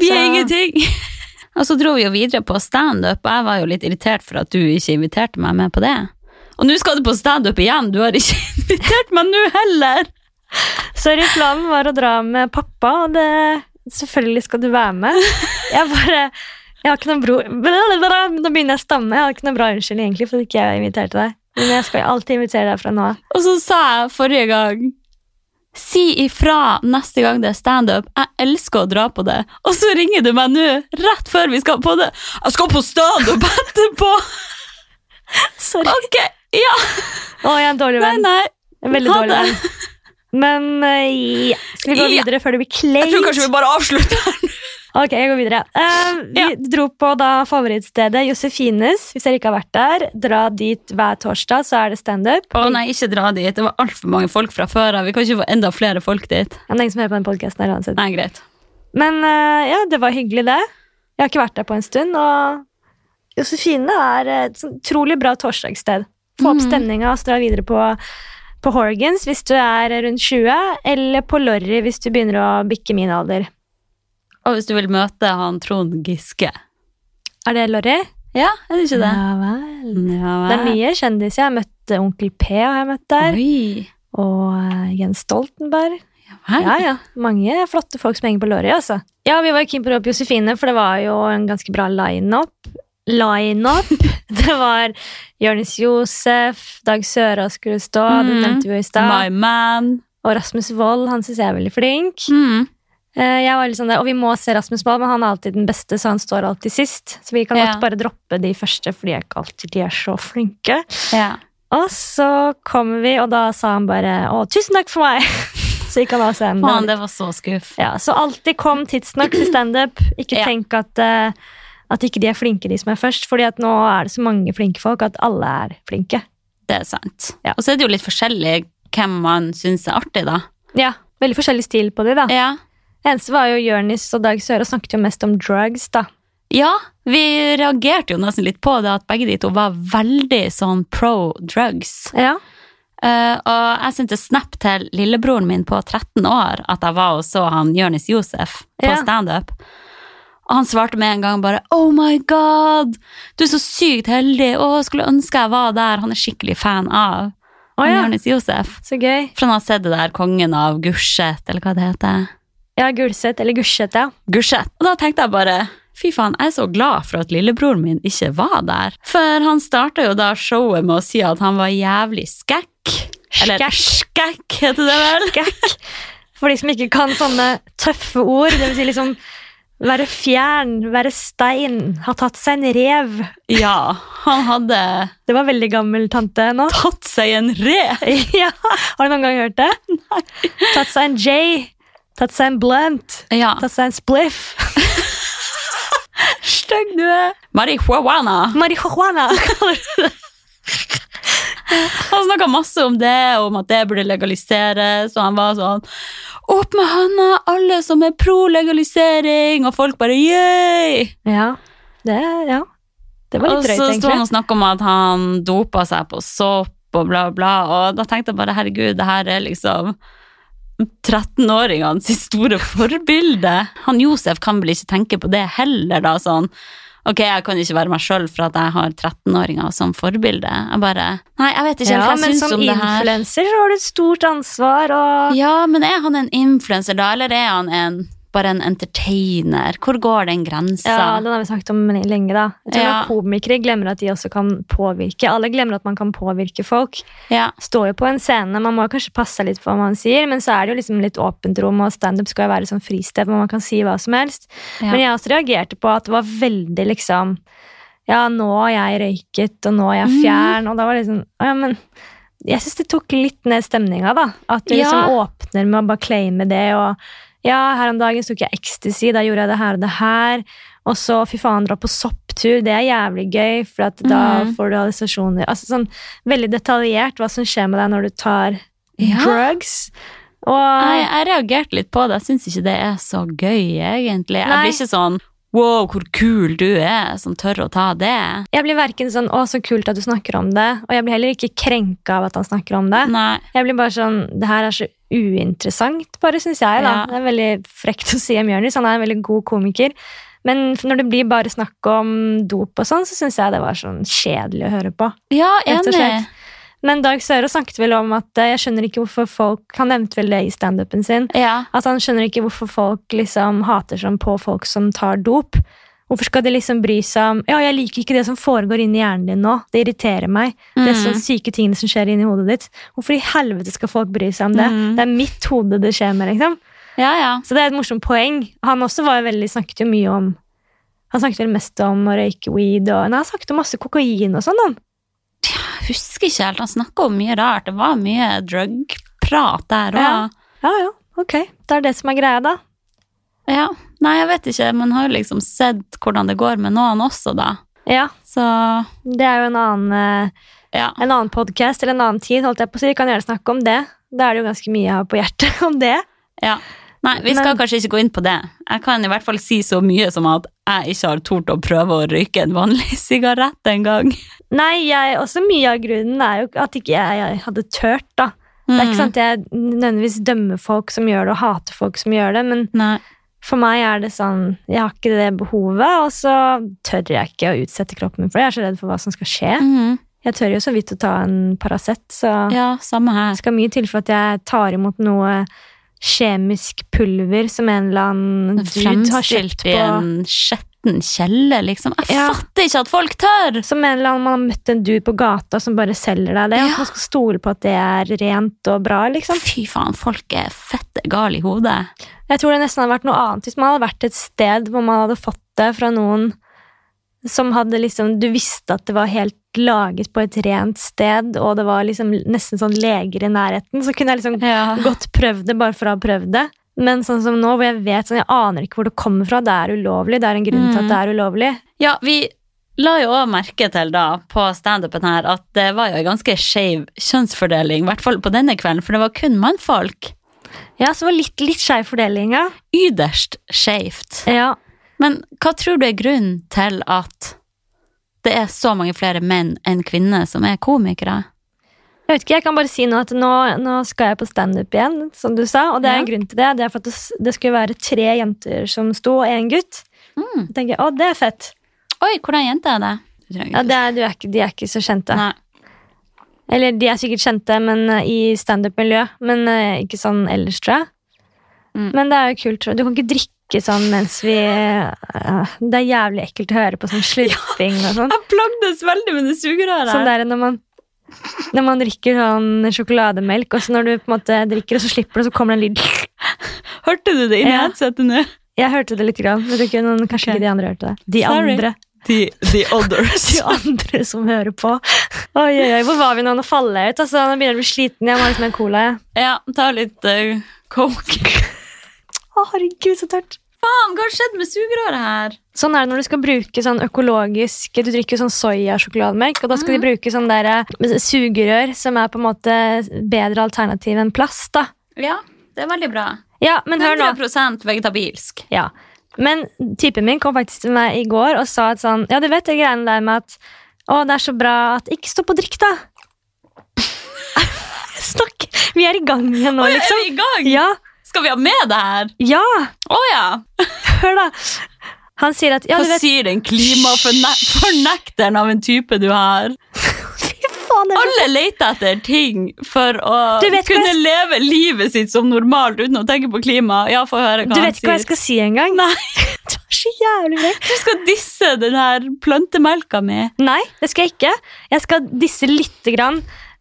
B: Vi er
A: Så-
B: ingenting. Og så dro vi jo videre på standup, og jeg var jo litt irritert for at du ikke inviterte meg med på det. Og nå skal du på standup igjen, du har ikke invitert meg nå heller!
A: Sorry, planen var å dra med pappa, og det Selvfølgelig skal du være med. Jeg bare Jeg har ikke noen bror Blablabla, Nå begynner jeg å stamme. Jeg har ikke noen bra unnskyldning egentlig for at ikke jeg inviterte deg. Men jeg skal alltid invitere deg fra nå av.
B: Og så sa jeg forrige gang Si ifra neste gang det er standup. Jeg elsker å dra på det. Og så ringer du meg nå, rett før vi skal på det. Jeg skal på standup etterpå!
A: Sorry.
B: Ok, ja,
A: Å, jeg er en dårlig
B: nei,
A: venn.
B: nei.
A: En veldig
B: Ha
A: dårlig
B: det.
A: venn. Men eh, ja. Skal vi gå
B: Ja.
A: videre før det blir
B: Jeg tror kanskje
A: kleint?
B: vi bare avslutter.
A: Ok, jeg går videre. Eh, vi
B: Ja.
A: dro på da favorittstedet Josefines. Hvis dere ikke har vært der, dra dit hver torsdag, så er det standup.
B: Å nei, ikke dra dit. Det var altfor mange folk fra før av. Vi kan ikke få enda flere folk dit.
A: Det er ingen som hører på den podkasten her uansett.
B: Nei, greit.
A: Men eh, ja, det var hyggelig det. Jeg har ikke vært der på en stund, og Josefine er et sånn utrolig bra torsdagssted. Få opp
B: Mhm.
A: stemninga og så dra videre på, på Horgans hvis du er rundt 20, eller på Lorry hvis du begynner å bikke min alder.
B: Og hvis du vil møte han Trond Giske.
A: Er det Lorry?
B: Ja, er det ikke det?
A: Ja vel.
B: Ja,
A: Det er mye kjendiser. Jeg har møtt Onkel P, har jeg møtt der.
B: Oi.
A: Og eh, Jens Stoltenberg.
B: Ja, vel.
A: Ja, ja. Mange flotte folk som henger på lorry, altså. Ja, vi var jo keen på å dra på Josefine, for det var jo en ganske bra line-up. Line-up! det var Jonis Josef, Dag Sørås skulle stå, det
B: Mhm.
A: nevnte vi jo i
B: My
A: stad.
B: man.
A: Og Rasmus Wold, han syns jeg er veldig flink.
B: Mm.
A: Eh, Jeg var litt sånn der, Og vi må se Rasmus Wold, men han er alltid den beste, så han står alltid sist. Så vi kan
B: Ja.
A: godt bare droppe de første, fordi jeg ikke alltid de er så flinke.
B: Ja.
A: Og så kommer vi, og da sa han bare 'Å, tusen takk for meg!' så gikk han av scenen.
B: Faen, det var så skuff.
A: Ja, så alltid kom tidsnok til standup. Ikke
B: Ja.
A: tenk at, eh, at ikke de er flinke, de som er først. Fordi at nå er det så mange flinke folk at alle er flinke.
B: Det er sant.
A: Ja.
B: Og så er det jo litt forskjellig hvem man syns er artig, da.
A: Ja, Veldig forskjellig stil på de da.
B: Ja.
A: Eneste var jo Jørnis og Dag Søre snakket jo mest om drugs, da.
B: ja, Vi reagerte jo nesten litt på det at begge de to var veldig sånn pro drugs.
A: Ja.
B: Eh, og jeg sendte snap til lillebroren min på 13 år at jeg var og så han Jonis Josef på
A: Ja.
B: standup. Og han svarte med en gang bare 'Oh my god, du er så sykt heldig, å, skulle ønske jeg var der'. Han er skikkelig fan av
A: Å
B: oh,
A: ja,
B: Jonis Josef.
A: så gøy.
B: For han har sett det der 'Kongen av Gulset', eller hva det heter.
A: Ja, Gulset, eller Gulset, ja.
B: Gulset. Og da tenkte jeg bare Fy faen, jeg er så glad for at lillebroren min ikke var der. For han starta jo da showet med å si at han var jævlig skekk. Eller skekk, heter det vel?
A: Skakk. For de som ikke kan sånne tøffe ord, det vil si liksom være fjern, være stein, ha tatt seg en rev.
B: Ja, han hadde
A: Det var veldig gammel tante nå.
B: tatt seg en rev.
A: Ja, Har du noen gang hørt det? Tatt seg en J, tatt seg en blunt,
B: Ja,
A: tatt seg en spliff.
B: stygg du er. Marihuana.
A: Marihuana!
B: Han snakka masse om det, om at det burde legaliseres, og han var sånn Opp med hånda, alle som er pro legalisering, og folk bare yeah!
A: Ja, det, ja. det var
B: Og
A: litt drøyt,
B: så sto han
A: egentlig.
B: og snakka om at han dopa seg på sopp og bla, bla, og da tenkte jeg bare herregud, det her er liksom 13-åringenes store forbilde. Han Josef kan vel ikke tenke på det heller, da, sånn. Ok, jeg kan ikke være meg sjøl for at jeg har 13-åringer som forbilde. Jeg bare Nei, jeg vet ikke
A: Ja,
B: hva
A: men
B: jeg syns
A: som
B: om det her.
A: influenser så har du et stort ansvar, og
B: Ja, men er han en influenser da, eller er han en, bare en entertainer? Hvor går den grensa?
A: Ja, den har vi snakket om lenge, da. Jeg tror
B: Ja.
A: at Komikere glemmer at de også kan påvirke. Alle glemmer at man kan påvirke folk.
B: ja.
A: Står jo på en scene, man må kanskje passe seg litt på hva man sier, men så er det jo liksom litt åpent rom, og standup skal jo være sånn fristed hvor man kan si hva som helst.
B: Ja.
A: Men jeg også reagerte på at det var veldig liksom Ja, nå har jeg røyket, og nå er
B: Mhm.
A: jeg fjern, og da var det liksom «Å Ja, men jeg syns det tok litt ned stemninga, da. At du
B: Ja.
A: liksom åpner med å bare claime det, og ja, her om dagen tok jeg ecstasy, da gjorde jeg det her og det her. Og så, fy faen, dra på sopptur, det er jævlig gøy, for at da
B: Mhm.
A: får du hallusinasjoner. Altså sånn veldig detaljert hva som skjer med deg når du tar
B: Ja. Ah,
A: drugs. Og
B: Nei, jeg reagerte litt på det. Jeg syns ikke det er så gøy, egentlig. Jeg
A: Nei.
B: blir ikke sånn Wow, hvor kul du er som tør å ta det.
A: jeg blir verken sånn 'Å, så kult at du snakker om det', og jeg blir heller ikke krenka av at han snakker om det.
B: Nei.
A: Jeg blir bare sånn Det her er så uinteressant, bare, syns jeg. da.
B: Ja.
A: Det er veldig frekt å si om Jonis. Han er en veldig god komiker. Men f- når det blir bare snakk om dop og sånn, så syns jeg det var sånn kjedelig å høre på.
B: Ja,
A: Rett og
B: enig.
A: slett. Men Dag Sørås snakket vel om at eh, jeg skjønner ikke hvorfor folk Han nevnte vel det i standupen sin.
B: Ja.
A: At han skjønner ikke hvorfor folk liksom hater sånn på folk som tar dop. Hvorfor skal de liksom bry seg om Ja, jeg liker ikke det som foregår inni hjernen din nå. Det irriterer meg. Det er
B: Mm.
A: sånne syke tingene som skjer inni hodet ditt. Hvorfor i helvete skal folk bry seg om det?
B: Mm.
A: Det er mitt hode det skjer med, liksom.
B: ja, ja.
A: Så det er et morsomt poeng. Han også var jo veldig, snakket jo mye om Han snakket vel mest om å røyke weed og Nei, han snakket om masse kokain og sånn, han.
B: Jeg husker ikke helt. Han snakka om mye rart. Det var mye drugprat der òg.
A: Ja. Ja, ja, ok. Det er det som er greia, da.
B: Ja. Nei, jeg vet ikke. Man har jo liksom sett hvordan det går med noen også, da.
A: Ja.
B: Så
A: Det er jo en annen eh,
B: ja.
A: en annen podkast eller en annen tid, holdt jeg på å si. Vi kan gjerne snakke om det. Da er det jo ganske mye jeg har på hjertet om det.
B: ja. Nei, vi skal
A: Men-
B: kanskje ikke gå inn på det. Jeg kan i hvert fall si så mye som at jeg ikke har tort å prøve å røyke en vanlig sigarett engang.
A: Nei, jeg, også mye av grunnen er jo at ikke jeg, jeg hadde tørt, da. Det
B: Mm.
A: er ikke sant at jeg nødvendigvis dømmer folk som gjør det, og hater folk som gjør det, men
B: Nei.
A: for meg er det sånn Jeg har ikke det behovet, og så tør jeg ikke å utsette kroppen min for det. Jeg er så redd for hva som skal skje. Jeg tør jo så vidt å ta en Paracet, så
B: Mm. Mm-hmm. Ja, samme her.
A: Det skal mye til for at jeg tar imot noe kjemisk pulver som en eller
B: Sånn
A: annen dude har kjøpt
B: Fremstilt i
A: på
B: en skjetten kjelle, liksom. Jeg
A: Ja.
B: fatter ikke at folk tør!
A: Som en eller annen man har møtt en dude på gata som bare selger deg det.
B: Ja.
A: At man skal stole på at det er rent og bra, liksom.
B: Fy faen, folk er fette gale i hodet.
A: Jeg tror det nesten hadde vært noe annet hvis man hadde vært et sted hvor man hadde fått det fra noen som hadde liksom Du visste at det var helt laget på et rent sted, og det var liksom nesten sånn leger i nærheten. Så kunne jeg liksom godt prøvd det bare for å ha prøvd det. Men sånn som nå, hvor jeg vet sånn, jeg aner ikke hvor det kommer fra. Det er ulovlig. Det er en grunn til at det er ulovlig.
B: Ja, vi la jo òg merke til da, på standupen her, at det var jo en ganske skeiv kjønnsfordeling, i hvert fall på denne kvelden, for det var kun mannfolk.
A: Ja, så det var litt, litt skeiv fordeling, ja.
B: Yderst skeivt.
A: ja.
B: Men hva tror du er grunnen til at det er så mange flere menn enn kvinner som er komikere?
A: Jeg vet ikke, jeg kan bare si nå at nå, nå skal jeg på standup igjen, som du sa. Og det er en
B: Ja.
A: grunn til det. Det er for at det, s- det skulle være tre jenter som sto, og én gutt.
B: Mm.
A: Jeg tenker, å, det er fett.
B: Oi, hvordan jente er det? Du trenger
A: Ja,
B: ikke
A: det er, du er ikke, de er ikke så kjente.
B: Nei.
A: Eller de er sikkert kjente men eh, i standup-miljø, men eh, ikke sånn ellers, tror jeg.
B: Mm.
A: Men det er jo kult. tror jeg. Du kan ikke drikke sånn mens vi eh, Det er jævlig ekkelt å høre på sånn slurping og sånn.
B: Jeg plagdes veldig med det sugerøret.
A: Sånn der når man, når man drikker sånn sjokolademelk, og så når du på en måte drikker, og så slipper du, så kommer det en lyd.
B: Hørte du det
A: inni
B: headsetet nå?
A: Jeg hørte det lite grann, men jeg tror ikke noen, kanskje
B: Ok.
A: ikke de andre hørte det. De
B: Sorry.
A: andre.
B: The, the others.
A: De andre som hører på. Oi, oi, oi, hvor var vi nå? Nå faller jeg ut. altså. Nå begynner jeg å bli sliten. Jeg må ha litt mer cola. jeg.
B: ja, ta litt eh, coke.
A: Å, herregud, så tørt.
B: Faen, hva har skjedd med sugerøret her?
A: Sånn er det når du skal bruke sånn økologisk Du drikker jo sånn soyasjokolademelk, og da skal
B: Mhm.
A: de bruke sånn der eh, sugerør som er på en måte bedre alternativ enn plast, da.
B: Ja, det er veldig bra.
A: Ja, men hør nå.
B: 100 vegetabilsk.
A: Ja. Men typen min kom faktisk til meg i går og sa at sånn Ja, du vet det greiene der med at Å, det er så bra at Ikke stå på drikk, da! Snakk! Vi er i gang igjen nå,
B: Er
A: liksom.
B: vi i gang?
A: Ja!
B: Skal vi ha med det her?
A: Ja!
B: Å ja!
A: Hør, da. Han sier at Ja,
B: Hva
A: du vet
B: sier den klimafornekteren av en type du har?
A: Fy faen! det er-
B: Alle leter etter ting for å
A: Du vet hva
B: kunne
A: jeg-
B: leve livet sitt som normalt uten å tenke på klima. Ja, få høre hva
A: Du
B: han
A: vet ikke hva
B: sier.
A: jeg skal si engang.
B: Nei.
A: Du er så jævlig vekk.
B: Du skal disse den her plantemelka mi.
A: Nei, det skal jeg ikke. Jeg skal disse lite grann.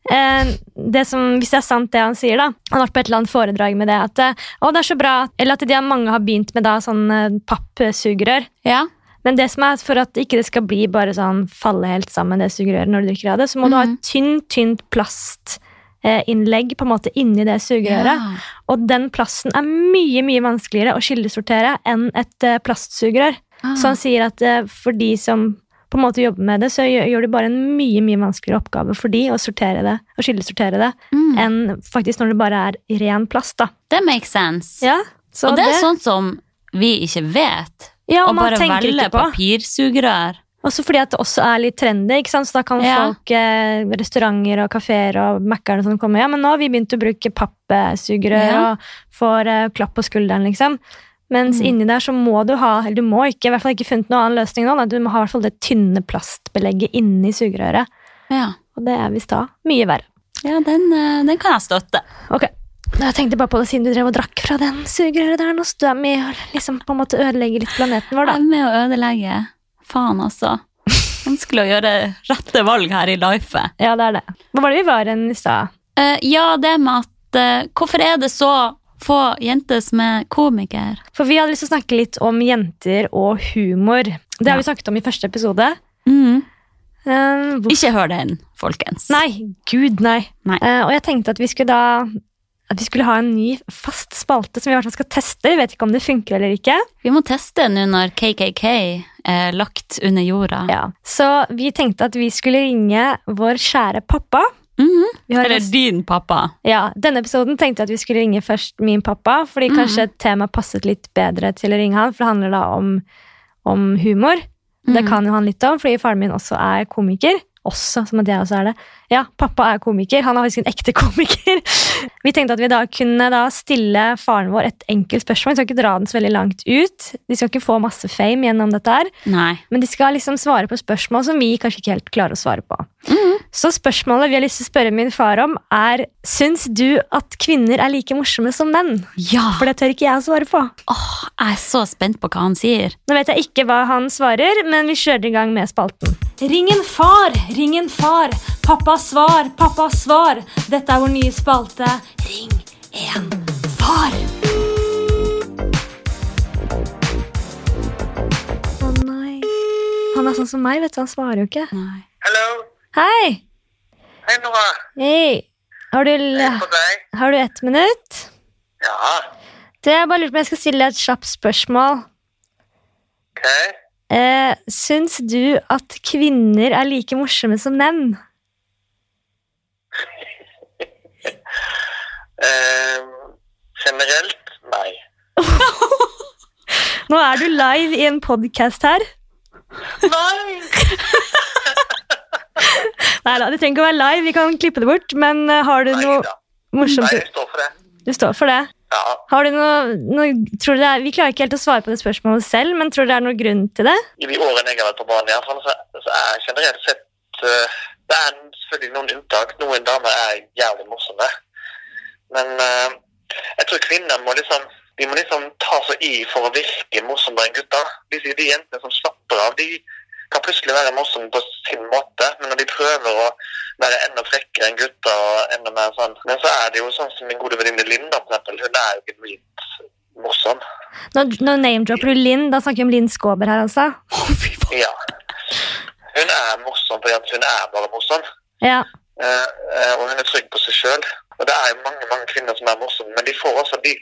A: Eh, det som, hvis det er sant det han sier, da. Han har vært på et eller annet foredrag med det. At eh, å, det er så bra, at- eller at de har mange har begynt med da sånn eh, pappsugerør.
B: Ja.
A: Men det som er for at ikke det skal bli bare sånn falle helt sammen, det sugerøret, når du drikker av det, så må du ha et tynt, tynt plastinnlegg eh, på en måte inni det sugerøret. Og den plasten er mye mye vanskeligere å skillesortere enn et eh, plastsugerør.
B: Ah.
A: Så
B: Sånn
A: han sier at eh, for de som på en måte jobber med det, så gjør, gjør det bare en mye mye vanskeligere oppgave for de å sortere det, å skillesortere det
B: Mm.
A: enn faktisk når det bare er ren plast. da.
B: Det makes sense.
A: Ja, så
B: og det er sånt som vi ikke vet.
A: ja,
B: Å
A: og man
B: bare
A: tenker
B: velge
A: ikke på.
B: papirsugerør.
A: Også fordi at det også er litt trendy, ikke sant? så da kan
B: Ja.
A: folk, eh, restauranter og kafeer og Mac-erne og sånn komme. Ja, men nå har vi begynt å bruke pappsugerør
B: Ja.
A: og får eh, klapp på skulderen, liksom. Mens
B: Mm. inni
A: inni der så må du ha, eller du må ikke, i hvert fall ikke funnet noen annen løsning nå, da. du må ha i hvert fall det tynne plastbelegget inni sugerøret.
B: Ja.
A: Og det er visst da mye verre.
B: Ja, den, eh, den kan jeg støtte.
A: Ok, jeg tenkte bare på det siden du drev og drakk fra den sugerøret der nå, så du er med og liksom på en måte ødelegger litt planeten
B: Jeg
A: vår da.
B: er med å ødelegge. Faen, altså. Vanskelig å gjøre rette valg her i lifet.
A: Ja, det er det. Hvor var det vi var enn i stad?
B: Eh, ja, det med at eh, Hvorfor er det så få jenter som er komiker?
A: For vi hadde lyst til å snakke litt om jenter og humor. Det har vi snakket om i første episode. Eh, hvor-
B: Ikke hør den, folkens.
A: Mm. Nei, gud nei.
B: Nei.
A: Eh, og jeg tenkte at vi skulle da at vi skulle ha en ny fast spalte som vi i hvert fall skal teste. Vi vet ikke om det funker eller ikke.
B: Vi må teste nå når KKK er lagt under jorda.
A: Ja. Så vi tenkte at vi skulle ringe vår kjære pappa.
B: Mhm.
A: Vi har
B: Eller din pappa.
A: Ja, Denne episoden tenkte jeg at vi skulle ringe først min pappa, fordi
B: Mhm.
A: kanskje temaet passet litt bedre til å ringe han, for det handler da om, om humor. Det
B: Mhm.
A: kan jo han litt om, fordi faren min også er komiker. Også, som at jeg også er det. Ja, pappa er komiker. Han er faktisk en ekte komiker. Vi tenkte at vi da kunne da stille faren vår et enkelt spørsmål. Vi skal ikke dra den så veldig langt ut. De skal ikke få masse fame gjennom dette her.
B: Mm. Nei.
A: Men de skal liksom svare på spørsmål som vi kanskje ikke helt klarer å svare på.
B: Mhm.
A: Så spørsmålet vi har lyst til å spørre min far om, er Syns du at kvinner er like morsomme som menn?
B: Ja!
A: For det tør ikke jeg å svare på.
B: Åh, jeg er så spent på hva han sier.
A: Nå vet jeg ikke hva han svarer, men vi kjører i gang med spalten. Ring en far, ring en far. Pappas svar, pappas svar. Dette er vår nye spalte. Ring en far. Å nei. Han er sånn som meg, vet du. Han svarer jo ikke.
B: Nei.
C: Hallo.
A: Hei!
C: Hei, Nora.
A: Hei! Har du,
C: Hei på deg.
A: har du ett minutt?
C: Ja,
A: Du, jeg bare lurte på om jeg skal stille deg et kjapt spørsmål.
C: ok.
A: Eh, syns du at kvinner er like morsomme som menn?
C: Ehm, generelt, nei.
A: Nå er du live i en podkast her.
C: Nei!
A: Nei da, det trenger ikke å være live, vi kan klippe det bort. Men eh, har du
C: Nei
A: noe
C: da. Nei,
A: morsomt
C: jeg står for det.
A: Du står for det.
C: Ja.
A: Har du noe, noe tror du det er, Vi klarer ikke helt å svare på det spørsmålet selv, men tror du det er noen grunn til det?
C: I de årene jeg har vært på banen, i hvert fall, så, så er jeg generelt sett eh, Det er selvfølgelig noen unntak. Noen damer er jævlig morsomme. Men eh, jeg tror kvinner må liksom de må liksom ta så i for å virke morsommere enn gutter. De, sier de jentene som slapper av, de kan plutselig være morsomme på sin måte, men når de prøver å være enda frekkere enn gutter og enda mer sånn Men så er det jo sånn som min gode venninne Linda, for eksempel. Hun er jo genuint morsom.
A: Nå, nå name-dropper du Linn. Da snakker vi om Linn Skåber her, altså.
B: fy faen.
C: Ja. Hun er morsom fordi at hun er bare morsom.
A: Ja.
C: Eh, eh, og hun er trygg på seg sjøl. Og det er jo mange mange kvinner som er morsomme, men de får også de,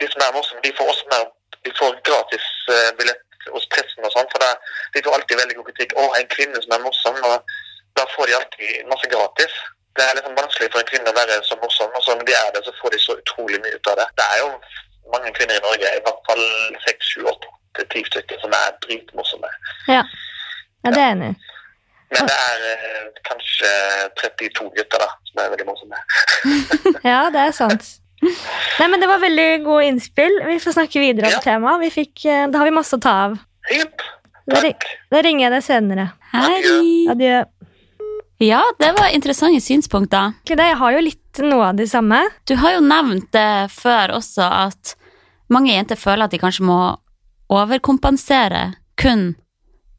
C: de som er morsomme, de får også mer, de får gratis eh, billett hos pressen og sånn, for det, de får alltid veldig god kritikk. 'Å, en kvinne som er morsom', og da får de alltid masse gratis. Det er liksom vanskelig for en kvinne å være så morsom, og så når de er det, så får de så utrolig mye ut av det. Det er jo mange kvinner i Norge, i hvert fall seks, sju, åtte, ti stykker, som er dritmorsomme.
A: ja, det er jeg enig i.
C: Men det er eh, kanskje 32 gutter da, som er veldig morsomme.
A: Ja, det er sant. Nei, men Det var veldig gode innspill. Vi får snakke videre om
C: Ja.
A: temaet. Vi fikk, eh, Da har vi masse å ta av.
C: Hipp!
A: Da, ri-
C: Takk.
A: da ringer jeg deg senere.
B: Hei.
A: Adjø.
B: Ja, det var interessante synspunkter.
A: Egentlig det, Jeg har jo litt noe av de samme.
B: Du har jo nevnt det før også at mange jenter føler at de kanskje må overkompensere kun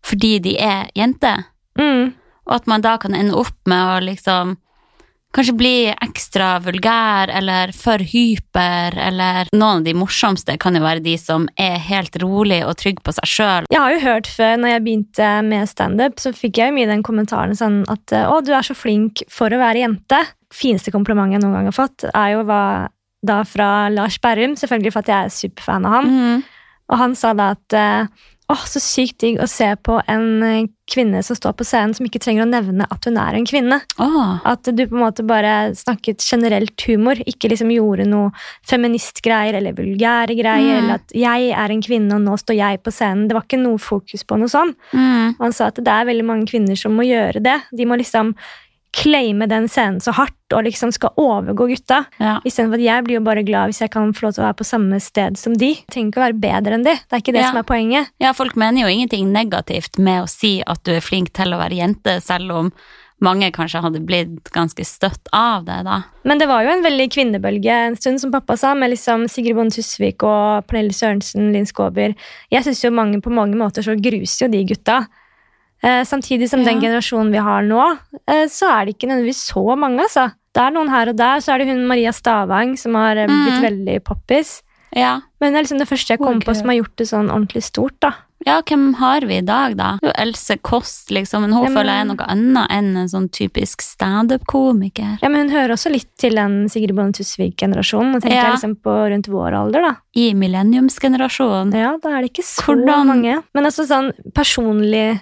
B: fordi de er jenter,
A: Mm.
B: og at man da kan ende opp med å liksom kanskje bli ekstra vulgær eller for hyper, eller noen av de morsomste kan jo være de som er helt rolig og trygg på seg sjøl.
A: Jeg har jo hørt før, når jeg begynte med standup, så fikk jeg jo mye den kommentaren sånn at å, du er så flink for å være jente. Fineste komplimentet jeg noen gang har fått, er jo hva da fra Lars Berrum, selvfølgelig for at jeg er superfan av ham.
B: Mm.
A: Og han sa da at eh, åh, så sykt digg å se på en eh, kvinne som står på scenen som ikke trenger å nevne at hun er en kvinne.
B: Åh,
A: At du på en måte bare snakket generelt humor, ikke liksom gjorde noe feministgreier eller vulgære greier,
B: Mm.
A: eller at 'jeg er en kvinne, og nå står jeg på scenen'. Det var ikke noe fokus på noe sånn.
B: mm,
A: Og han sa at det er veldig mange kvinner som må gjøre det. De må liksom claime den scenen så hardt, og liksom skal overgå gutta.
B: ja.
A: Istedenfor at jeg blir jo bare glad hvis jeg kan få lov til å være på samme sted som de. Jeg trenger ikke å være bedre enn de. Det er ikke det
B: Ja.
A: som er poenget.
B: Ja, folk mener jo ingenting negativt med å si at du er flink til å være jente, selv om mange kanskje hadde blitt ganske støtt av det, da.
A: Men det var jo en veldig kvinnebølge en stund, som pappa sa, med liksom Sigrid Bonde Tusvik og Pernille Sørensen, Linn Skåber. Jeg syns jo mange på mange måter så gruser jo de gutta. Eh, samtidig som
B: Ja.
A: den generasjonen vi har nå, eh, så er det ikke nødvendigvis så mange, altså. Det er noen her og der, så er det hun Maria Stavang som har eh,
B: Mm.
A: blitt veldig poppis.
B: Ja.
A: Men det er liksom det første jeg kom
B: Hun er
A: på
B: gøy.
A: som har gjort det sånn ordentlig stort, da.
B: ja, hvem har vi i dag, da? Jo, Else Kåss, liksom, men hun
A: Ja, men-
B: føler jeg er noe annet enn en sånn typisk standup-komiker.
A: Ja, men Hun hører også litt til den Sigrid Bonde Tusvik-generasjonen. og tenker
B: Ja.
A: jeg liksom på rundt vår alder, da.
B: I millenniumsgenerasjonen.
A: Ja, da er det ikke så
B: Hvordan-
A: mange. Men altså sånn personlig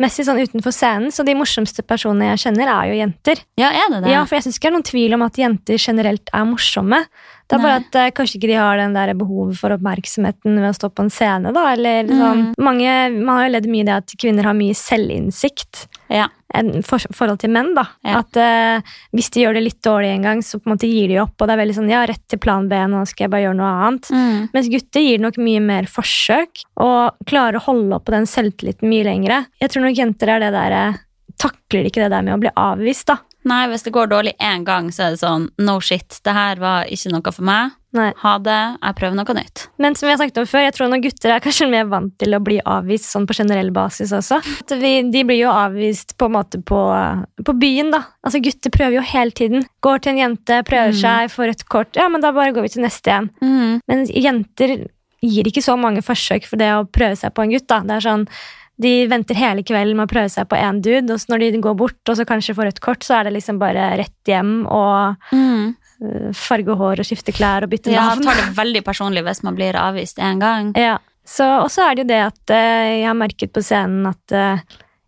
A: Messig sånn utenfor scenen, så de morsomste personene jeg kjenner, er jo jenter.
B: Ja, er det det?
A: Ja, For jeg syns ikke det er noen tvil om at jenter generelt er morsomme. Det er bare
B: Nei.
A: at eh, kanskje ikke de har den der behovet for oppmerksomheten ved å stå på en scene, da. Eller sånn mange, Man har jo ledd mye i det at kvinner har mye selvinnsikt
B: Ja.
A: enn for, forhold til menn. da.
B: Ja.
A: At eh, Hvis de gjør det litt dårlig en gang, så på en måte gir de opp. Og det er veldig sånn, ja, rett til plan B, nå skal jeg bare gjøre noe annet.
B: Mm.
A: Mens gutter gir det nok mye mer forsøk og klarer å holde opp på den selvtilliten mye lengre. Jeg tror nok jenter er det der, eh, takler ikke det der med å bli avvist. da.
B: Nei, hvis det går dårlig én gang, så er det sånn no shit, det her var ikke noe for meg.
A: Nei.
B: Ha det, jeg prøver noe nytt.
A: Men som vi har snakket om før, jeg tror nok gutter er kanskje mer vant til å bli avvist sånn på generell basis også. At vi, de blir jo avvist på en måte på, på byen, da. Altså Gutter prøver jo hele tiden. Går til en jente, prøver
B: Mm.
A: seg, får et kort. Ja, men da bare går vi til neste igjen.
B: Mm.
A: Men jenter gir ikke så mange forsøk for det å prøve seg på en gutt. Da. Det er sånn, De venter hele kvelden med å prøve seg på én dude, og så når de går bort og så kanskje får et kort, så er det liksom bare rett hjem og
B: Mm.
A: øh, farge hår og skifte klær og bytte
B: Ja,
A: navn.
B: tar det veldig personlig hvis man blir avvist én gang.
A: Ja. Så, og så er det jo det at eh, jeg har merket på scenen at eh,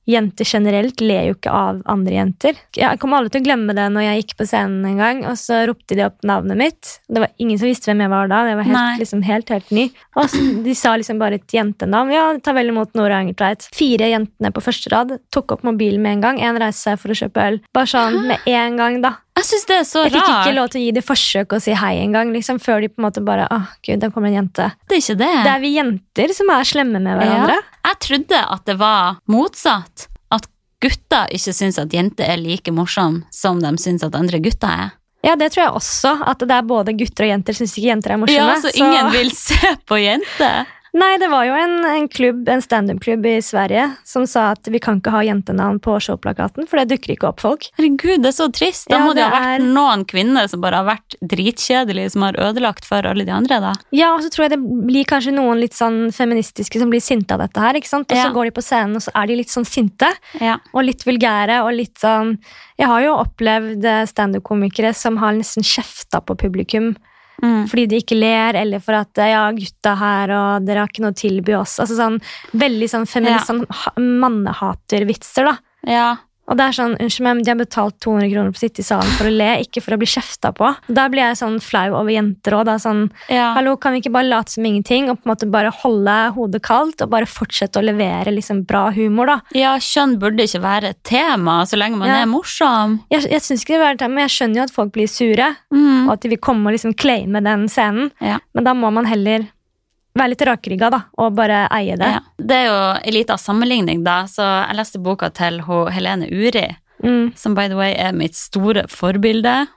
A: jenter generelt ler jo ikke av andre jenter. Jeg kommer aldri til å glemme det når jeg gikk på scenen en gang, og så ropte de opp navnet mitt. Det var ingen som visste hvem jeg var da. Jeg var
B: Nei.
A: helt, liksom, helt, helt ny. Og så, de sa liksom bare et jentenavn. Ja, ta vel imot Nora Angertveit. Fire jentene på første rad tok opp mobilen med en gang. En reiste seg for å kjøpe øl. Bare sånn med en gang, da.
B: Jeg syns det er så
A: Jeg fikk ikke
B: rart.
A: lov til å gi det forsøk å si hei engang, liksom, før de på en måte bare Å, gud, der kommer en jente.
B: Det er ikke det.
A: Det er vi jenter som er slemme med
B: Ja.
A: hverandre.
B: Jeg trodde at det var motsatt. At gutter ikke syns at jenter er like morsomme som de syns at andre gutter er.
A: Ja, det tror jeg også. At det er både gutter og jenter syns ikke jenter er morsomme.
B: Ja, så ingen vil se på jenter.
A: Nei, det var jo en, en klubb, en standup-klubb i Sverige som sa at vi kan ikke ha jentenavn på showplakaten, for det dukker ikke opp folk.
B: Herregud, det er så trist. Da
A: Ja,
B: må det ha
A: det
B: vært
A: er-
B: noen kvinner som bare har vært dritkjedelige, som har ødelagt for alle de andre, da.
A: Ja, og så tror jeg det blir kanskje noen litt sånn feministiske som blir sinte av dette her, ikke sant? Og
B: Ja.
A: så går de på scenen, og så er de litt sånn sinte.
B: Ja.
A: og litt vulgære og litt sånn Jeg har jo opplevd eh, standup-komikere som har nesten kjefta på publikum
B: Mm.
A: fordi de ikke ler, eller for at eh, 'ja, gutta her, og dere har ikke noe å tilby oss'. Altså sånn veldig sånn feminist, sånn ha- mannehatervitser, da.
B: ja.
A: Og det er sånn, unnskyld meg, men de har betalt 200 kroner for å sitte i salen for å le, ikke for å bli kjefta på. Da blir jeg sånn flau over jenter òg, da. Sånn,
B: ja.
A: hallo, kan vi ikke bare late som ingenting, og på en måte bare holde hodet kaldt, og bare fortsette å levere liksom bra humor, da.
B: Ja, kjønn burde ikke være et tema så lenge man
A: Ja.
B: er morsom.
A: Jeg, jeg synes ikke det var det, men jeg skjønner jo at folk blir sure,
B: Mm.
A: og at de vil komme og liksom claime den scenen.
B: Ja.
A: Men da må man heller være litt rakrygga da, og bare eie det.
B: Ja. Det er jo en liten sammenligning, da. Så jeg leste boka til ho- Helene Uri,
A: Mm.
B: som by the way er mitt store forbilde.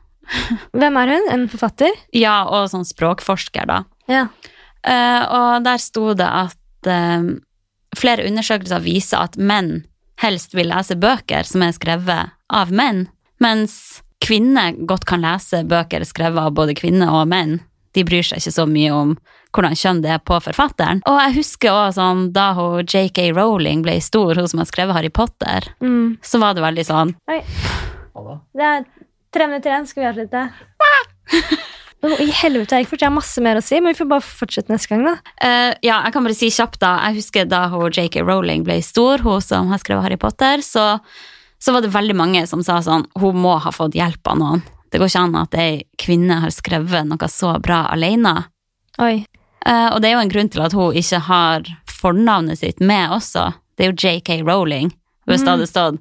A: Hvem er hun? En forfatter?
B: Ja, og sånn språkforsker, da.
A: Ja.
B: Eh, og der sto det at eh, flere undersøkelser viser at menn helst vil lese bøker som er skrevet av menn, mens kvinner godt kan lese bøker skrevet av både kvinner og menn. De bryr seg ikke så mye om hvordan kjønn det er på forfatteren. Og jeg husker også sånn, da hun J.K. Rowling ble stor, hun som har skrevet Harry Potter,
A: Mm.
B: så var det veldig sånn
A: Det er tre minutter igjen, skal vi avslutte? Å, I helvete, Erik, for jeg har masse mer å si, men vi får bare fortsette neste gang, da.
B: Eh, ja, jeg kan bare si kjapt da. Jeg husker da hun J.K. Rowling ble stor, hun som har skrevet Harry Potter, så, så var det veldig mange som sa sånn, hun må ha fått hjelp av noen. Det går ikke an at ei kvinne har skrevet noe så bra alene.
A: Oi.
B: Eh, og det er jo en grunn til at hun ikke har fornavnet sitt med også. Det er jo J.K. Rowling. Hvis det hadde stått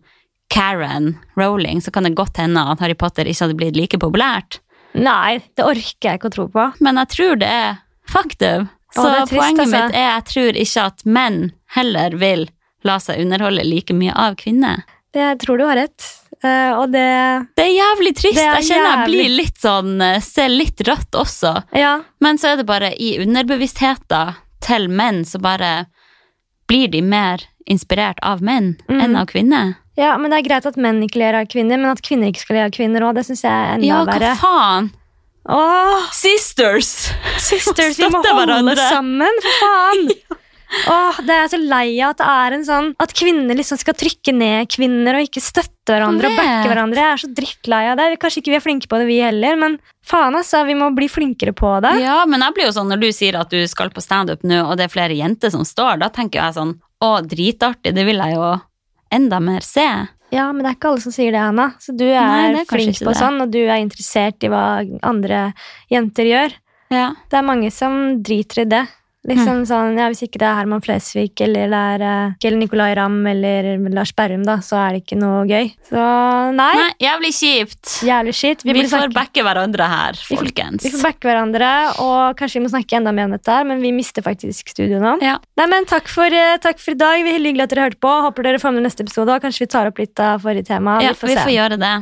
B: Karen Rowling, så kan det godt hende at Harry Potter ikke hadde blitt like populært.
A: Nei, det orker jeg ikke å tro på.
B: Men jeg tror det er faktum.
A: Å,
B: Så
A: det er trist,
B: poenget
A: altså.
B: mitt er jeg tror ikke at menn heller vil la seg underholde like mye av kvinner.
A: Det jeg tror du har rett. Eh, og det
B: Det er jævlig trist.
A: Det er
B: jeg kjenner jeg blir
A: jævlig-
B: litt sånn eh, Ser litt rødt også.
A: Ja.
B: Men så er det bare i underbevisstheten til menn, så bare blir de mer inspirert av menn
A: Mm.
B: enn av kvinner.
A: ja, men det er greit at menn ikke ler av kvinner, men at kvinner ikke skal le av kvinner òg, det syns jeg er enda
B: Ja, hva
A: verre.
B: faen?
A: Åh,
B: Sisters!
A: sisters, vi må
B: Støtte
A: holde
B: hverandre.
A: sammen, for faen! Åh, det er så lei av at det er en sånn At kvinner liksom skal trykke ned kvinner og ikke støtte hverandre og
B: Vet.
A: backe hverandre. Jeg er så drittlei av det. Vi- Kanskje ikke vi er flinke på det, vi heller, men faen, altså. Vi må bli flinkere på det.
B: Ja, men jeg blir jo sånn når du sier at du skal på standup nå, og det er flere jenter som står, da tenker jeg sånn Å, dritartig, det vil jeg jo enda mer se.
A: Ja, men det er ikke alle som sier det, Anna. Så du er
B: Nei, det er kanskje
A: flink
B: ikke
A: på
B: det.
A: sånn, og du er interessert i hva andre jenter gjør.
B: Ja.
A: Det er mange som driter i det.
B: Mm.
A: Liksom sånn, ja, Hvis ikke det er Herman Flesvig eller det er eh, eller Nicolay Ramm eller Lars Berrum, da, så er det ikke noe gøy. Så nei,
B: Nei, jævlig kjipt.
A: jævlig skitt.
B: Vi,
A: Vi, burde
B: får
A: snakke-
B: backe hverandre her,
A: Vi får-
B: folkens.
A: vi får backe hverandre, og kanskje vi må snakke enda mer om dette, her, men vi mister faktisk studio nå.
B: Ja.
A: Nei, men takk for, eh, takk for i dag. Vi er Veldig hyggelig at dere hørte på. Håper dere får med neste episode, og kanskje vi tar opp litt av forrige tema.
B: ja,
A: vi får se.
B: gjøre det.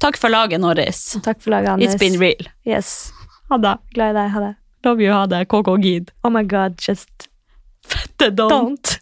B: Takk for laget, Norris.
A: Takk for laget,
B: It's been
A: Anders.
B: real.
A: Yes.
B: Ha det.
A: Glad i deg. Ha det.
B: Love you, ha det. KK Gid.
A: Oh my god, just
B: Fette
A: don't.